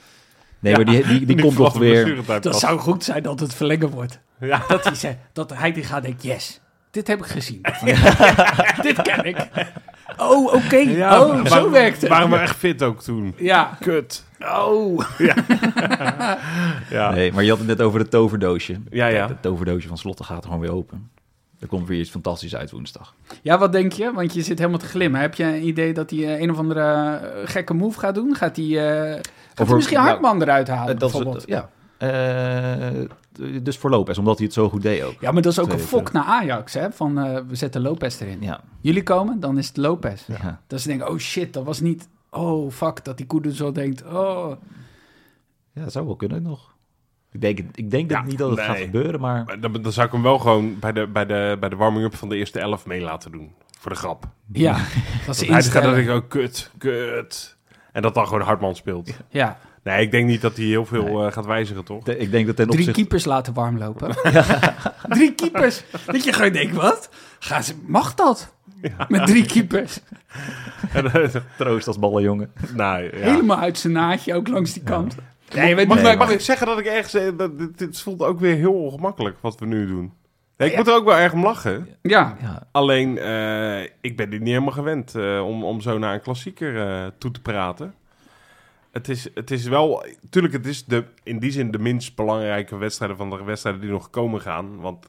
Nee, maar die, die, die
Nu
komt
valt
toch
de
weer...
blessuretijd
Dat
pas.
zou goed zijn dat het verlengen wordt.
Ja.
[LAUGHS]
Dat hij, zegt, dat hij die gaat denkt, yes, dit heb ik gezien. dit ken ik. Oh, oké.
Ja,
oh,
maar-
zo werkt het.
Waren we echt fit ook toen?
Ja.
Kut.
Oh.
Ja.
Nee, maar je had het net over het toverdoosje.
Ja, ja.
Het toverdoosje van Slot dat gaat gewoon weer open. Er komt weer iets fantastisch uit woensdag.
Ja, wat denk je? Want je zit helemaal te glimmen. Heb je een idee dat hij eh, een of andere eh, gekke move gaat doen? Gaat hij, eh, gaat hij
Over-
misschien
nou,
Hartman eruit halen,
Eh, dat is
bijvoorbeeld?
het, ja. Eh, dus voor Lopez, omdat hij het zo goed deed ook.
ja, maar dat is ook een
Twee,
fok naar Ajax, hè? Van, eh, we zetten Lopez erin.
Ja.
Jullie komen, dan is het Lopez.
Ja.
Dat ze denken, oh shit, dat was niet... Oh, fuck, dat die Koeders zo denkt, oh...
ja, dat zou wel kunnen nog. Ik denk, het- ik denk dat
Ja,
niet dat het
nee.
gaat gebeuren, maar
Maar Eh, Dan, dan zou ik hem wel gewoon bij de, bij de, bij de warming-up van de eerste elf mee laten doen. Voor de grap.
[LAUGHS]
Ja, dat is
Hij gaat dat
instellen.
ik ook kut, kut. En dat dan gewoon Hartman speelt.
Ja,
Nee, ik denk niet dat hij heel veel eh, gaat wijzigen, toch? [LAUGHS]
te- ik denk dat ten
drie
opzichte...
keepers laten
[LAUGHS]
warmlopen. drie keepers. Dat je gewoon denkt, wat? Gaan ze, mag dat? Met drie keepers.
Troost als ballenjongen.
nou, ja.
Helemaal uit zijn naadje, ook langs die kant. Nee, weet
Mag,
niet
ik-
waar-
mag ik zeggen dat ik ergens... eh, Dat, dit, dit voelt ook weer heel ongemakkelijk wat we nu doen. Nee, ik moet er ook wel erg om lachen.
Ja,
Ja,
Alleen, eh, ik ben dit niet helemaal gewend eh, om, om zo naar een klassieker eh, toe te praten. Het is, het is wel... Tuurlijk, het is de, in die zin de minst belangrijke wedstrijden van de wedstrijden die nog komen gaan. Want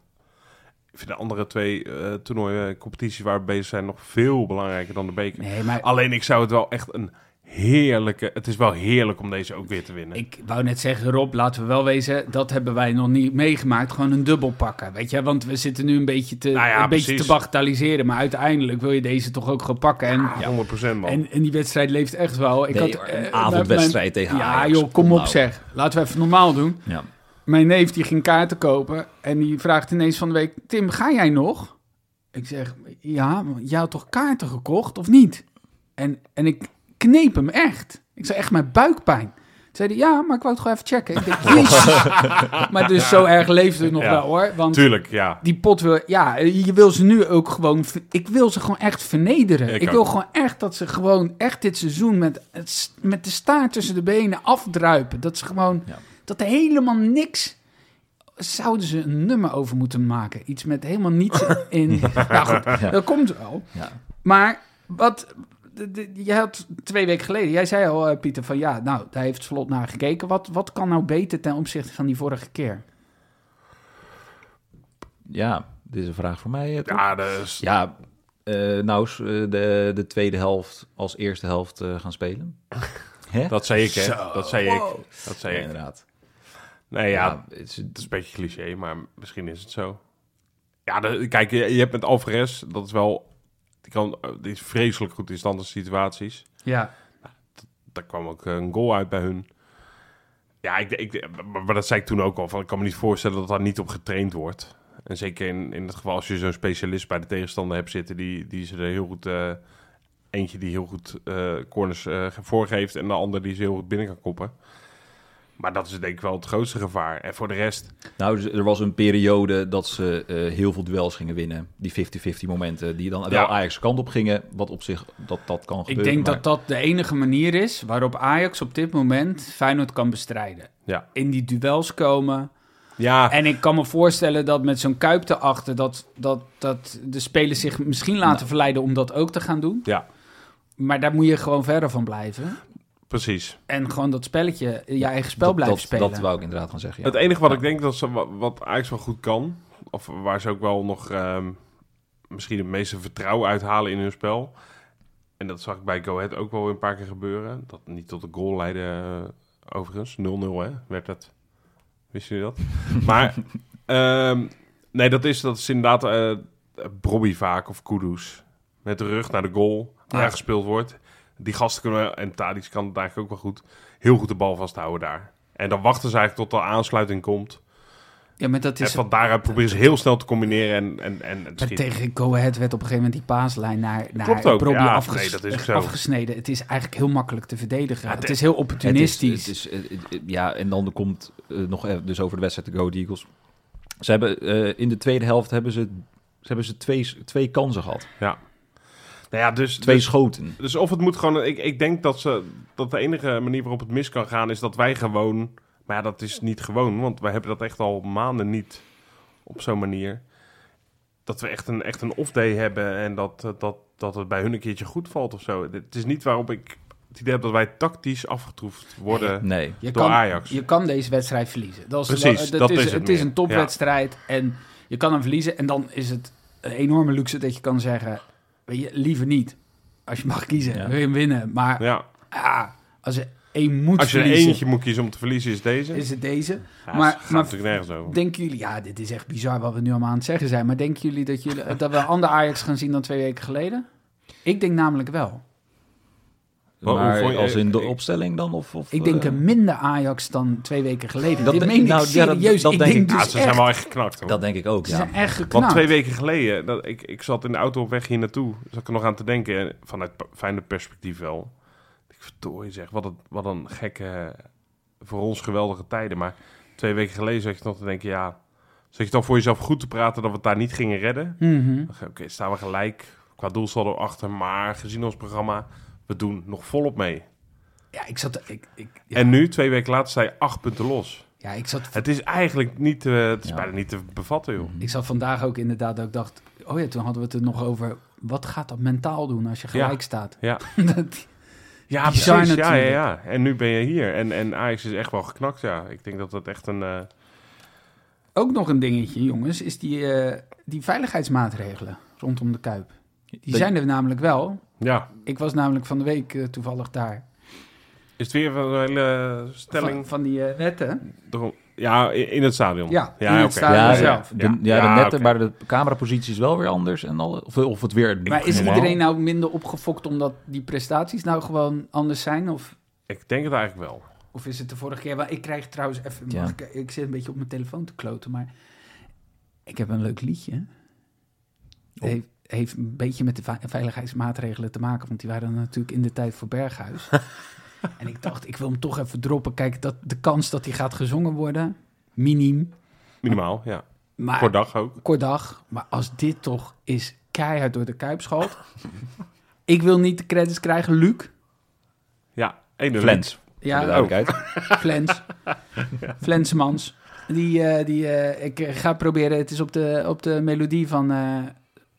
ik vind de andere twee eh toernooien, eh, competities waar we bezig zijn, nog veel belangrijker dan de beker.
nee, maar
Alleen, ik zou het wel echt een heerlijke... Het is wel heerlijk om deze ook weer te winnen.
ik wou net zeggen, Rob, laten we wel wezen, dat hebben wij nog niet meegemaakt. Gewoon een dubbel pakken, weet je. Want we zitten nu een beetje te,
Nou ja,
een beetje te
precies.
bagatelliseren, maar uiteindelijk wil je deze toch ook gaan pakken. En
100% man.
En, en die wedstrijd leeft echt wel. Ik
Nee,
had,
hoor,
eh,
een
mijn-
avondwedstrijd
mijn-
tegen
Ja,
Ajax.
joh, kom
Kom
op
nou.
zeg. Laten we even normaal doen.
ja.
Mijn neef die ging kaarten kopen en die vraagt ineens van de week... Tim, ga jij nog? Ik zeg, ja, maar jij had toch kaarten gekocht of niet? En, en ik kneep hem echt. Ik zei echt mijn buikpijn. Toen zei hij, ja, maar ik wou het gewoon even checken. Ik denk,
[LAUGHS]
jezus. maar dus zo erg leefde het nog
Ja.
wel hoor. Want
Tuurlijk, ja.
die pot wil, ja, je wil ze nu ook gewoon, ik wil ze gewoon echt vernederen. Ik,
Ik
wil
ook.
gewoon echt dat ze gewoon echt dit seizoen met, het s- met de staart tussen de benen afdruipen. Dat ze gewoon,
Ja.
dat er helemaal niks, zouden ze een nummer over moeten maken. Iets met helemaal niets in. nou goed, dat komt wel.
Ja.
Maar wat, de- de- jij had twee weken geleden, jij zei al eh, Pieter van ja, nou, daar heeft Slot naar gekeken. Wat, wat kan nou beter ten opzichte van die vorige keer?
ja, dit is een vraag voor mij. eh, toch?
Ja, dus,
Ja, eh, nou, s- eh, de, de tweede helft als eerste helft eh, gaan spelen. Hè?
dat zei ik, hè. Dat zei ik. Dat zei
Ja,
ik.
inderdaad.
Nee, ja, het
het is-
is een beetje cliché, maar misschien is het zo. Ja, de- kijk, je, je hebt met Alvarez, dat is wel... Die, kan, die is vreselijk goed in standaard situaties.
Ja,
Daar kwam ook eh, een goal uit bij hun. Ja, ik, ik, maar maar dat zei ik toen ook al. Van, ik kan me niet voorstellen dat daar niet op getraind wordt. En zeker in, in het geval als je zo'n specialist bij de tegenstander hebt zitten... die, die ze er heel goed... eh, eentje die heel goed eh, corners eh, voorgeeft... en de ander die ze heel goed binnen kan koppen. Maar dat is denk ik wel het grootste gevaar. En voor de rest...
Nou, dus er was een periode dat ze eh, heel veel duels gingen winnen. Die 50-50 momenten die dan wel Ajax kant op gingen. Wat op zich, dat, dat kan
Ik
gebeuren.
denk
maar-
dat dat de enige manier is waarop Ajax op dit moment Feyenoord kan bestrijden.
Ja. Ah.
In die duels komen.
Ja,
En ik kan me voorstellen dat met zo'n kuip erachter... Dat, dat, dat de spelers zich misschien laten
Nou.
verleiden om dat ook te gaan doen.
ja
Maar daar moet je gewoon verder van blijven.
precies.
En gewoon dat spelletje, je eigen spel
dat-
blijven
dat,
spelen.
Dat wou ik inderdaad gaan zeggen, ja.
Het enige wat ik denk dat ze, wa- wat Ajax wel goed kan... of waar ze ook wel nog ehm, misschien het meeste vertrouwen uithalen in hun spel... en dat zag ik bij Go Ahead ook wel een paar keer gebeuren... dat niet tot een goal leidde eh, overigens. 0-0 hè, werd het. Wist je dat? maar ehm, nee, dat is, dat is inderdaad eh Brobby vaak of Kudus... met de rug naar de goal
Ja.
aangespeeld wordt... Die gasten kunnen, en Tadic kan het eigenlijk ook wel goed, heel goed de bal vasthouden daar. En dan wachten ze eigenlijk tot de aansluiting komt.
Ja, maar dat
En
is...
van daaruit proberen ze heel snel te combineren en, en, en het
Maar
schieten.
tegen Go Ahead werd op een gegeven moment die paaslijn naar, naar
Klopt ook,
Brobbey
ja,
afges-
nee, dat is ook zo.
afgesneden. Het is eigenlijk heel makkelijk te verdedigen.
Ja,
het
het-
is heel
Het is-
opportunistisch.
het is, eh, eh, ja, en dan komt eh, nog even dus over de wedstrijd de Go Ahead Eagles. Ze hebben, eh, in de tweede helft hebben ze, ze, hebben ze twee, twee kansen gehad.
Nou ja, dus,
Twee
dus,
schoten.
dus of het moet gewoon... Ik, ik denk dat, ze, dat de enige manier waarop het mis kan gaan is dat wij gewoon... Maar ja, dat is niet gewoon, want wij hebben dat echt al maanden niet op zo'n manier. Dat we echt een, echt een off-day hebben en dat, eh, dat, dat het bij hun een keertje goed valt of zo. Het is niet waarop ik het idee heb dat wij tactisch afgetroefd worden
Nee.
je,
door
kan,
Ajax.
je kan deze wedstrijd verliezen. Dat is,
Precies,
dat
dat
is,
is
het,
het
is
meer.
een topwedstrijd en je kan hem verliezen. En dan is het een enorme luxe dat je kan zeggen, weet je, liever niet. Als je mag kiezen,
Ja.
wil je hem winnen. Maar
Ja,
ah, als er één moet
als je er
verliezen,
eentje moet kiezen om te verliezen is deze.
is het deze.
Ja,
maar-
het gaat
maar-
natuurlijk nergens over.
Denken jullie, ja, dit is echt bizar wat we nu allemaal aan het zeggen zijn. Maar denken jullie dat,
[LAUGHS]
jullie, dat we een ander Ajax gaan zien dan twee weken geleden? Ik denk namelijk wel.
Maar hoe
Maar
vond je-
als in de
ik-
opstelling dan? Of, of,
Ik denk
eh,
een minder Ajax dan twee weken geleden.
Dat
Dit
denk-
meen ik
nou, ja, dat-
serieus.
dat
ik
denk
denk,
ik.
Ja,
dus
ze
echt,
zijn wel echt geknakt hoor.
Dat denk ik ook,
ze
ja.
zijn echt geknakt.
Want twee weken geleden, dat, ik, ik zat in de auto op weg hier naartoe, zat ik er nog aan te denken, en vanuit p- fijne perspectief wel. Ik verdorie zeg, wat een, wat een gekke, voor ons geweldige tijden. Maar twee weken geleden zat je nog te denken, ja, zat je dan voor jezelf goed te praten dat we het daar niet gingen redden?
Mhm.
Oké, staan we gelijk, qua doelsaldo achter, maar gezien ons programma, we doen nog volop mee.
Ja, ik zat... Ik, ik, ja,
En nu, twee weken later, sta je acht punten los.
ja, ik zat...
Het is eigenlijk niet te, het is
Ja.
bijna niet te bevatten, joh.
Ik zat vandaag ook inderdaad dat ik dacht... Oh ja, toen hadden we het er nog over... Wat gaat dat mentaal doen als je gelijk staat? [LAUGHS]
Ja.
Dat-
Ja,
Bizar
precies. Ja, ja,
natuurlijk.
ja. En nu ben je hier. En, en Ajax is echt wel geknakt, ja. Ik denk dat dat echt een... eh,
ook nog een dingetje, jongens, is die, eh, die veiligheidsmaatregelen rondom de Kuip. Die zijn er namelijk wel.
ja,
Ik was namelijk van de week eh, toevallig daar.
is het weer een hele stelling...
Van, van die eh, netten.
erom- Ja, i- in het stadion.
Ja, in
oké.
het stadion
ja,
zelf.
De, ja, de
Ja,
netten,
oké.
maar de camerapositie is wel weer anders. En al, of, of het weer...
Maar is
normaal.
iedereen nou minder opgefokt omdat die prestaties nou gewoon anders zijn? Of,
Ik denk het eigenlijk wel.
of is het de vorige keer? Want ik krijg trouwens even...
Ja.
mag ik, ik zit een beetje op mijn telefoon te kloten, maar... Ik heb een leuk liedje. Het
Oh.
heeft, heeft een beetje met de va- veiligheidsmaatregelen te maken, want die waren natuurlijk in de tijd voor Berghuis. en ik dacht, ik wil hem toch even droppen. Kijk, dat, de kans dat hij gaat gezongen worden, minim.
Minimaal, ja.
Maar
Voor dag ook.
kort dag. Maar als dit toch is keihard door de kuip schalt. ik wil niet de credits krijgen, Luc.
Ja, één
Flens.
Ja, Oh.
voor de duidelijkheid.
Flens. Flensmans. Die, eh, die, eh, ik eh, ga proberen. Het is op de, op de melodie van. eh,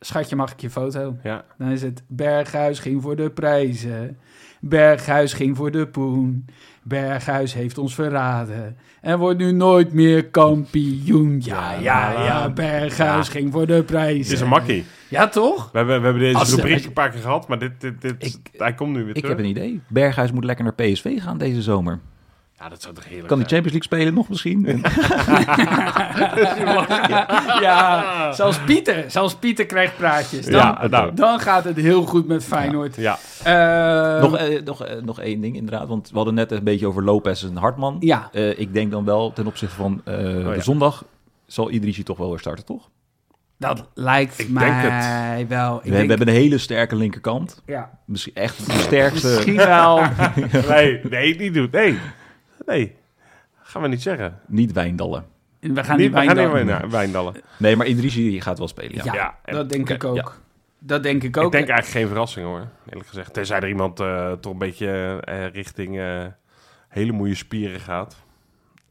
Schatje, mag ik je foto?
Ja.
Dan is het. Berghuis ging voor de prijzen. Berghuis ging voor de poen. Berghuis heeft ons verraden. En wordt nu nooit meer kampioen. Ja, ja, ja. Berghuis ging voor de
Het
prijzen.
is een
[LAUGHS]
[LAUGHS] makkie.
Ja, toch?
We hebben, we hebben deze
Als-
rubriek een paar keer gehad, maar dit, dit, dit,
Ik-
hij komt nu weer
Ik
terug.
heb een idee. Berghuis moet lekker naar PSV gaan deze zomer.
Ja, dat zou toch heerlijk
Kan die
zijn?
Champions League spelen nog misschien?
[LAUGHS] Ja, zelfs Pieter. Zelfs Pieter krijgt praatjes. Dan,
Ja, nou.
dan gaat het heel goed met Feyenoord.
Ja,
Eh,
nog, eh, nog, eh, nog één ding inderdaad, want we hadden net een beetje over Lopez en Hartman.
Ja. Oh,
Eh, ik denk dan wel ten opzichte van eh,
ja.
de zondag zal Idrissi toch wel weer starten, toch?
dat lijkt
Ik
mij
denk
wel. Ik
we,
denk,
we hebben een hele sterke linkerkant.
ja,
Misschien echt de sterkste.
misschien wel.
[LAUGHS] nee, nee, niet doen. Nee, nee. Gaan we niet zeggen.
niet Wijndallen.
We gaan
niet,
niet
we gaan
Wijndal-
niet naar Wijndallen.
Nee, maar Idrissi die gaat wel spelen. Ja.
Ja,
Ja, en-
dat denk ik ook.
ja.
Dat denk ik ook.
Ik denk eigenlijk geen verrassing hoor, eerlijk gezegd. Tenzij er iemand eh, toch een beetje eh, richting eh, hele moeie spieren gaat.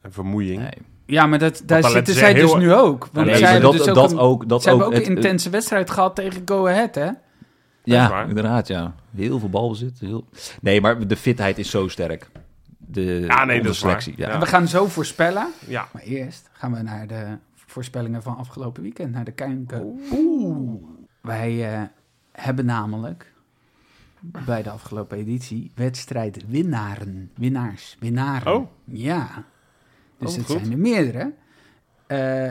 En vermoeiing.
Nee.
ja, maar dat, daar
dan
zitten
laten ze
zij dus
heel-
nu ook. Want
Nee,
zij
maar
hebben
dat,
dus ook
dat
een,
ook. Dat
ze hebben ook
het-
een intense wedstrijd gehad tegen Go Ahead, hè?
Dat is
Ja,
waar.
inderdaad, ja. Heel veel balbezit. Heel... Nee, maar de fitheid is zo sterk. De,
Ja, nee,
de
dat is
selectie.
waar.
Ja.
Ja.
We gaan zo voorspellen.
Ja,
Maar eerst gaan we naar de voorspellingen van afgelopen weekend, naar de kijken. Wij eh, hebben namelijk bij de afgelopen editie wedstrijd winnaren. Winnaars, winnaren.
Oh.
Ja. Dus
Oh,
het
goed.
zijn er meerdere. Eh,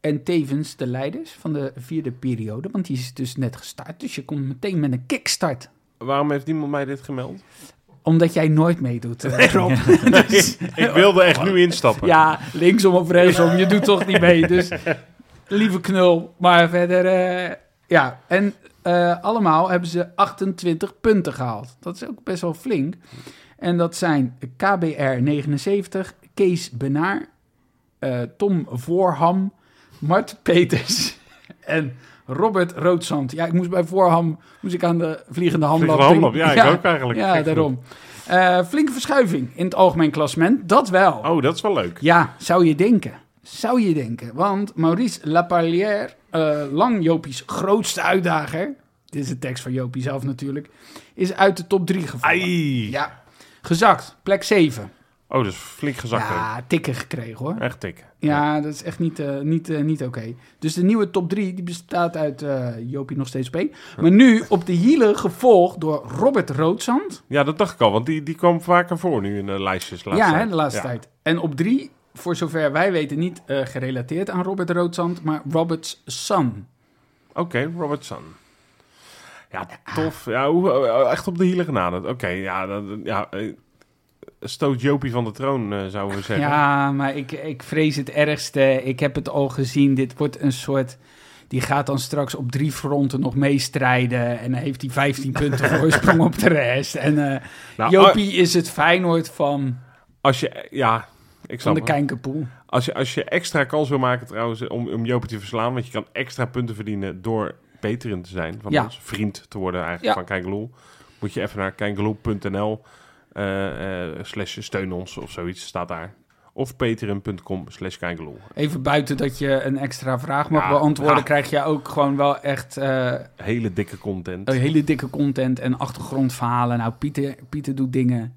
en tevens de leiders van de vierde periode, want die is dus net gestart. Dus je komt meteen met een kickstart. [LAUGHS]
waarom heeft niemand mij dit gemeld?
Omdat jij nooit meedoet, eh, Rob.
[LAUGHS] Ik wilde echt nu instappen.
Ja, linksom of rechtsom, je doet toch niet mee. Dus lieve knul. Maar verder, eh, ja. En eh, allemaal hebben ze 28 punten gehaald. Dat is ook best wel flink. En dat zijn KBR 79, Kees Benaar, eh, Tom Voorham, Mart Peters [LAUGHS] en Robert Roodzand. Ja, ik moest bij Voorham moest ik aan de vliegende
Vliegende
handlap
handlap,
denken.
ja, ik ook eigenlijk.
Ja,
Gek
daarom. Eh, flinke verschuiving in het algemeen klassement, dat wel.
Oh, dat is wel leuk.
Ja, zou je denken. Zou je denken. Want Maurice Lapallière, eh lang Jopie's grootste uitdager... Dit is de tekst van Jopie zelf natuurlijk... is uit de top 3 gevallen.
Ai.
Ja. Gezakt, plek 7.
Oh, dat is flink gezakt ook.
Ja, tikken gekregen hoor.
Echt tik.
Ja, dat is echt niet, eh, niet, eh, niet oké. Dus de nieuwe top 3 die bestaat uit eh, Jopie nog steeds op één. Maar nu op de hielen gevolgd door Robert Roodzand.
Ja, dat dacht ik al, want die, die kwam vaker voor nu in de lijstjes. de laatste
ja, hè,
tijd.
de laatste
Ja.
tijd. En op drie, voor zover wij weten, niet eh, gerelateerd aan Robert Roodzand, maar Robert's son.
Oké, Robertson. Ja, tof. Ja, hoe- oh, echt op de hielen genaderd. Oké, ja, dat, ja. eh, Stoot Jopie van de troon, eh, zouden we zeggen.
Ja, maar ik, ik vrees het ergste. Ik heb het al gezien. Dit wordt een soort. Die gaat dan straks op drie fronten nog meestrijden. En dan heeft hij
[LAUGHS]
15 punten voorsprong op de rest. En eh,
Nou,
Jopie is het Feyenoord van,
Als je, ja,
van
ik snap
de
het.
Kijkerpoel.
Als je, als je extra kans wil maken trouwens om, om Jopie te verslaan, want je kan extra punten verdienen door Patreon te zijn van
Ja.
ons, vriend te worden eigenlijk
Ja.
van Kijkeloel, moet je even naar kijkeloel.nl eh, eh, slash steun ons of zoiets, staat daar. Of patreon.com slash kijkeloel.
Even buiten dat je een extra vraag mag
Ja, nou.
beantwoorden,
ja.
krijg je ook gewoon wel echt eh,
Hele dikke content.
een Eh, hele dikke content en achtergrondverhalen. Nou, Pieter, Pieter doet dingen.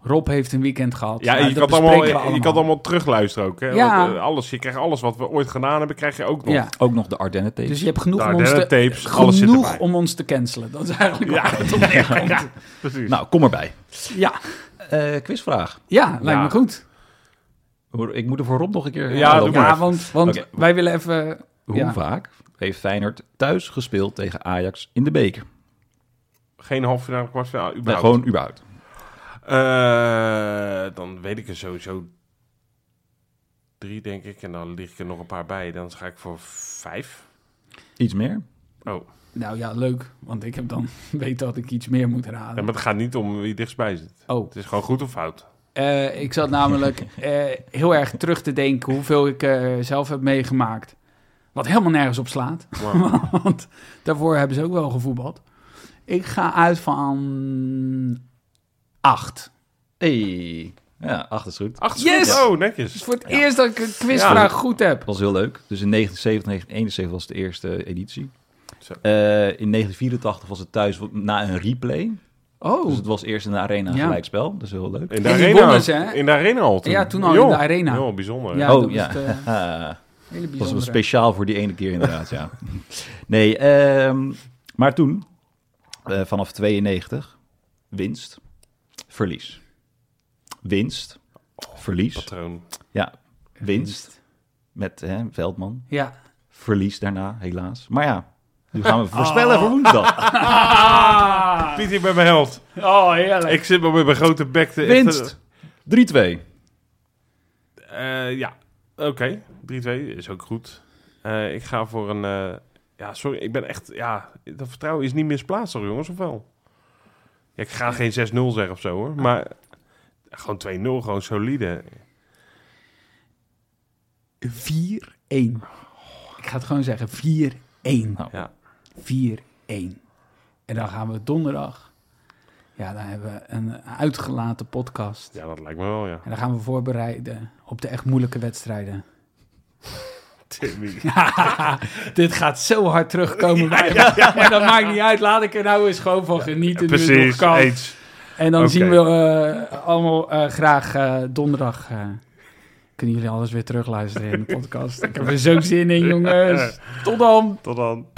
Rob heeft een weekend gehad.
Ja, en
Nou,
je, kan
dat
het allemaal,
bespreken we
je kan het allemaal terugluisteren ook. Hè?
Ja.
Want, eh, alles, je krijgt alles wat we ooit gedaan hebben, krijg je ook nog.
Ja,
Ook nog de Ardennen tapes.
dus je hebt genoeg
Daar,
om ons te,
tapes, alles zit
genoeg
erbij.
om ons te cancelen. Dat is eigenlijk
[LAUGHS] Ja.
waar het op neerkomt. Ja, Dus-
Precies.
Nou, kom erbij.
ja.
Eh, quizvraag.
lijkt me goed.
Hoor, Ik moet er voor Rob nog een keer...
Ja,
Hallo,
doe
Ja,
maar.
want, want
Oké.
wij willen even...
Hoe
ja.
vaak heeft Feyenoord thuis gespeeld tegen Ajax in de beker?
Geen halve finale, kwartfinale,
Nee,
überhaupt.
gewoon überhaupt.
Eh, dan weet ik er sowieso drie, denk ik. En dan lig ik er nog een paar bij. Dan ga ik voor vijf.
Iets meer?
Oh,
Nou ja, leuk. Want ik heb dan [LAUGHS] weet dat ik iets meer moet raden.
ja, maar het gaat niet om wie dichtstbij zit.
Oh,
Het is gewoon goed of fout.
eh, ik zat
[LAUGHS]
namelijk eh, heel erg terug te denken hoeveel ik eh, zelf heb meegemaakt. Wat helemaal nergens op slaat. [LAUGHS]
Maar,
Want daarvoor hebben ze ook wel gevoetbald. Ik ga uit van acht.
Hey. Ja, acht is goed.
acht
Yes!
seconden. Oh,
Het
netjes.
is voor het eerst dat ik een quizvraag goed heb.
Dat was heel leuk. Dus in 1970, 1971 was de eerste editie.
Zo.
Eh, in 1984 was het thuis na een replay. Dus
Oh,
het was eerst in de arena
Ja.
gelijkspel. Dat is heel leuk.
In de
En die
arena.
wonnen ze, hè?
in de arena al toen.
Ja, toen al in de arena.
Heel bijzonder.
ja,
Ja.
dat
oh
was
ja. [LAUGHS]
het, eh,
Haha.
hele bijzondere.
Dat was wel speciaal voor die ene keer inderdaad, ja. Nee, ehm, maar toen, eh, vanaf 92, winst, verlies. Winst, verlies.
Patroon.
Ja, winst met hè, Veldman.
Ja.
[LAUGHS] Verlies daarna, helaas. Maar ja, nu gaan we voorspellen voor
[LAUGHS]
woensdag.
Piet, ik ben mijn held.
Oh, heerlijk.
Ik zit maar met mijn grote bek te...
Winst, 3-2.
Eh, ja, oké. 3-2 is ook goed. Eh, ik ga voor een... eh, ja, sorry, ik ben echt... Ja, dat vertrouwen is niet misplaatst toch, jongens, of wel? Ja, ik ga geen 6-0 zeggen of zo, hoor. Maar gewoon 2-0, gewoon solide.
4-1. Ik ga het gewoon zeggen. 4-1.
Nou.
Ja.
4-1. En dan gaan we donderdag. Ja, dan hebben we een uitgelaten podcast.
Ja, dat lijkt me wel, ja.
En dan gaan we voorbereiden op de echt moeilijke wedstrijden.
Timmy.
[LAUGHS] Dit gaat zo hard terugkomen bij me. [LAUGHS] Maar dat maakt niet uit. Laat ik er nou eens gewoon van genieten. nu het nog
Precies,
kan.
eens.
En dan
Oké.
zien we eh, allemaal eh, graag eh, donderdag. eh,
[LAUGHS]
kunnen jullie alles weer terugluisteren in de podcast. Ik heb er zo zin in, jongens. Tot dan.
Tot dan.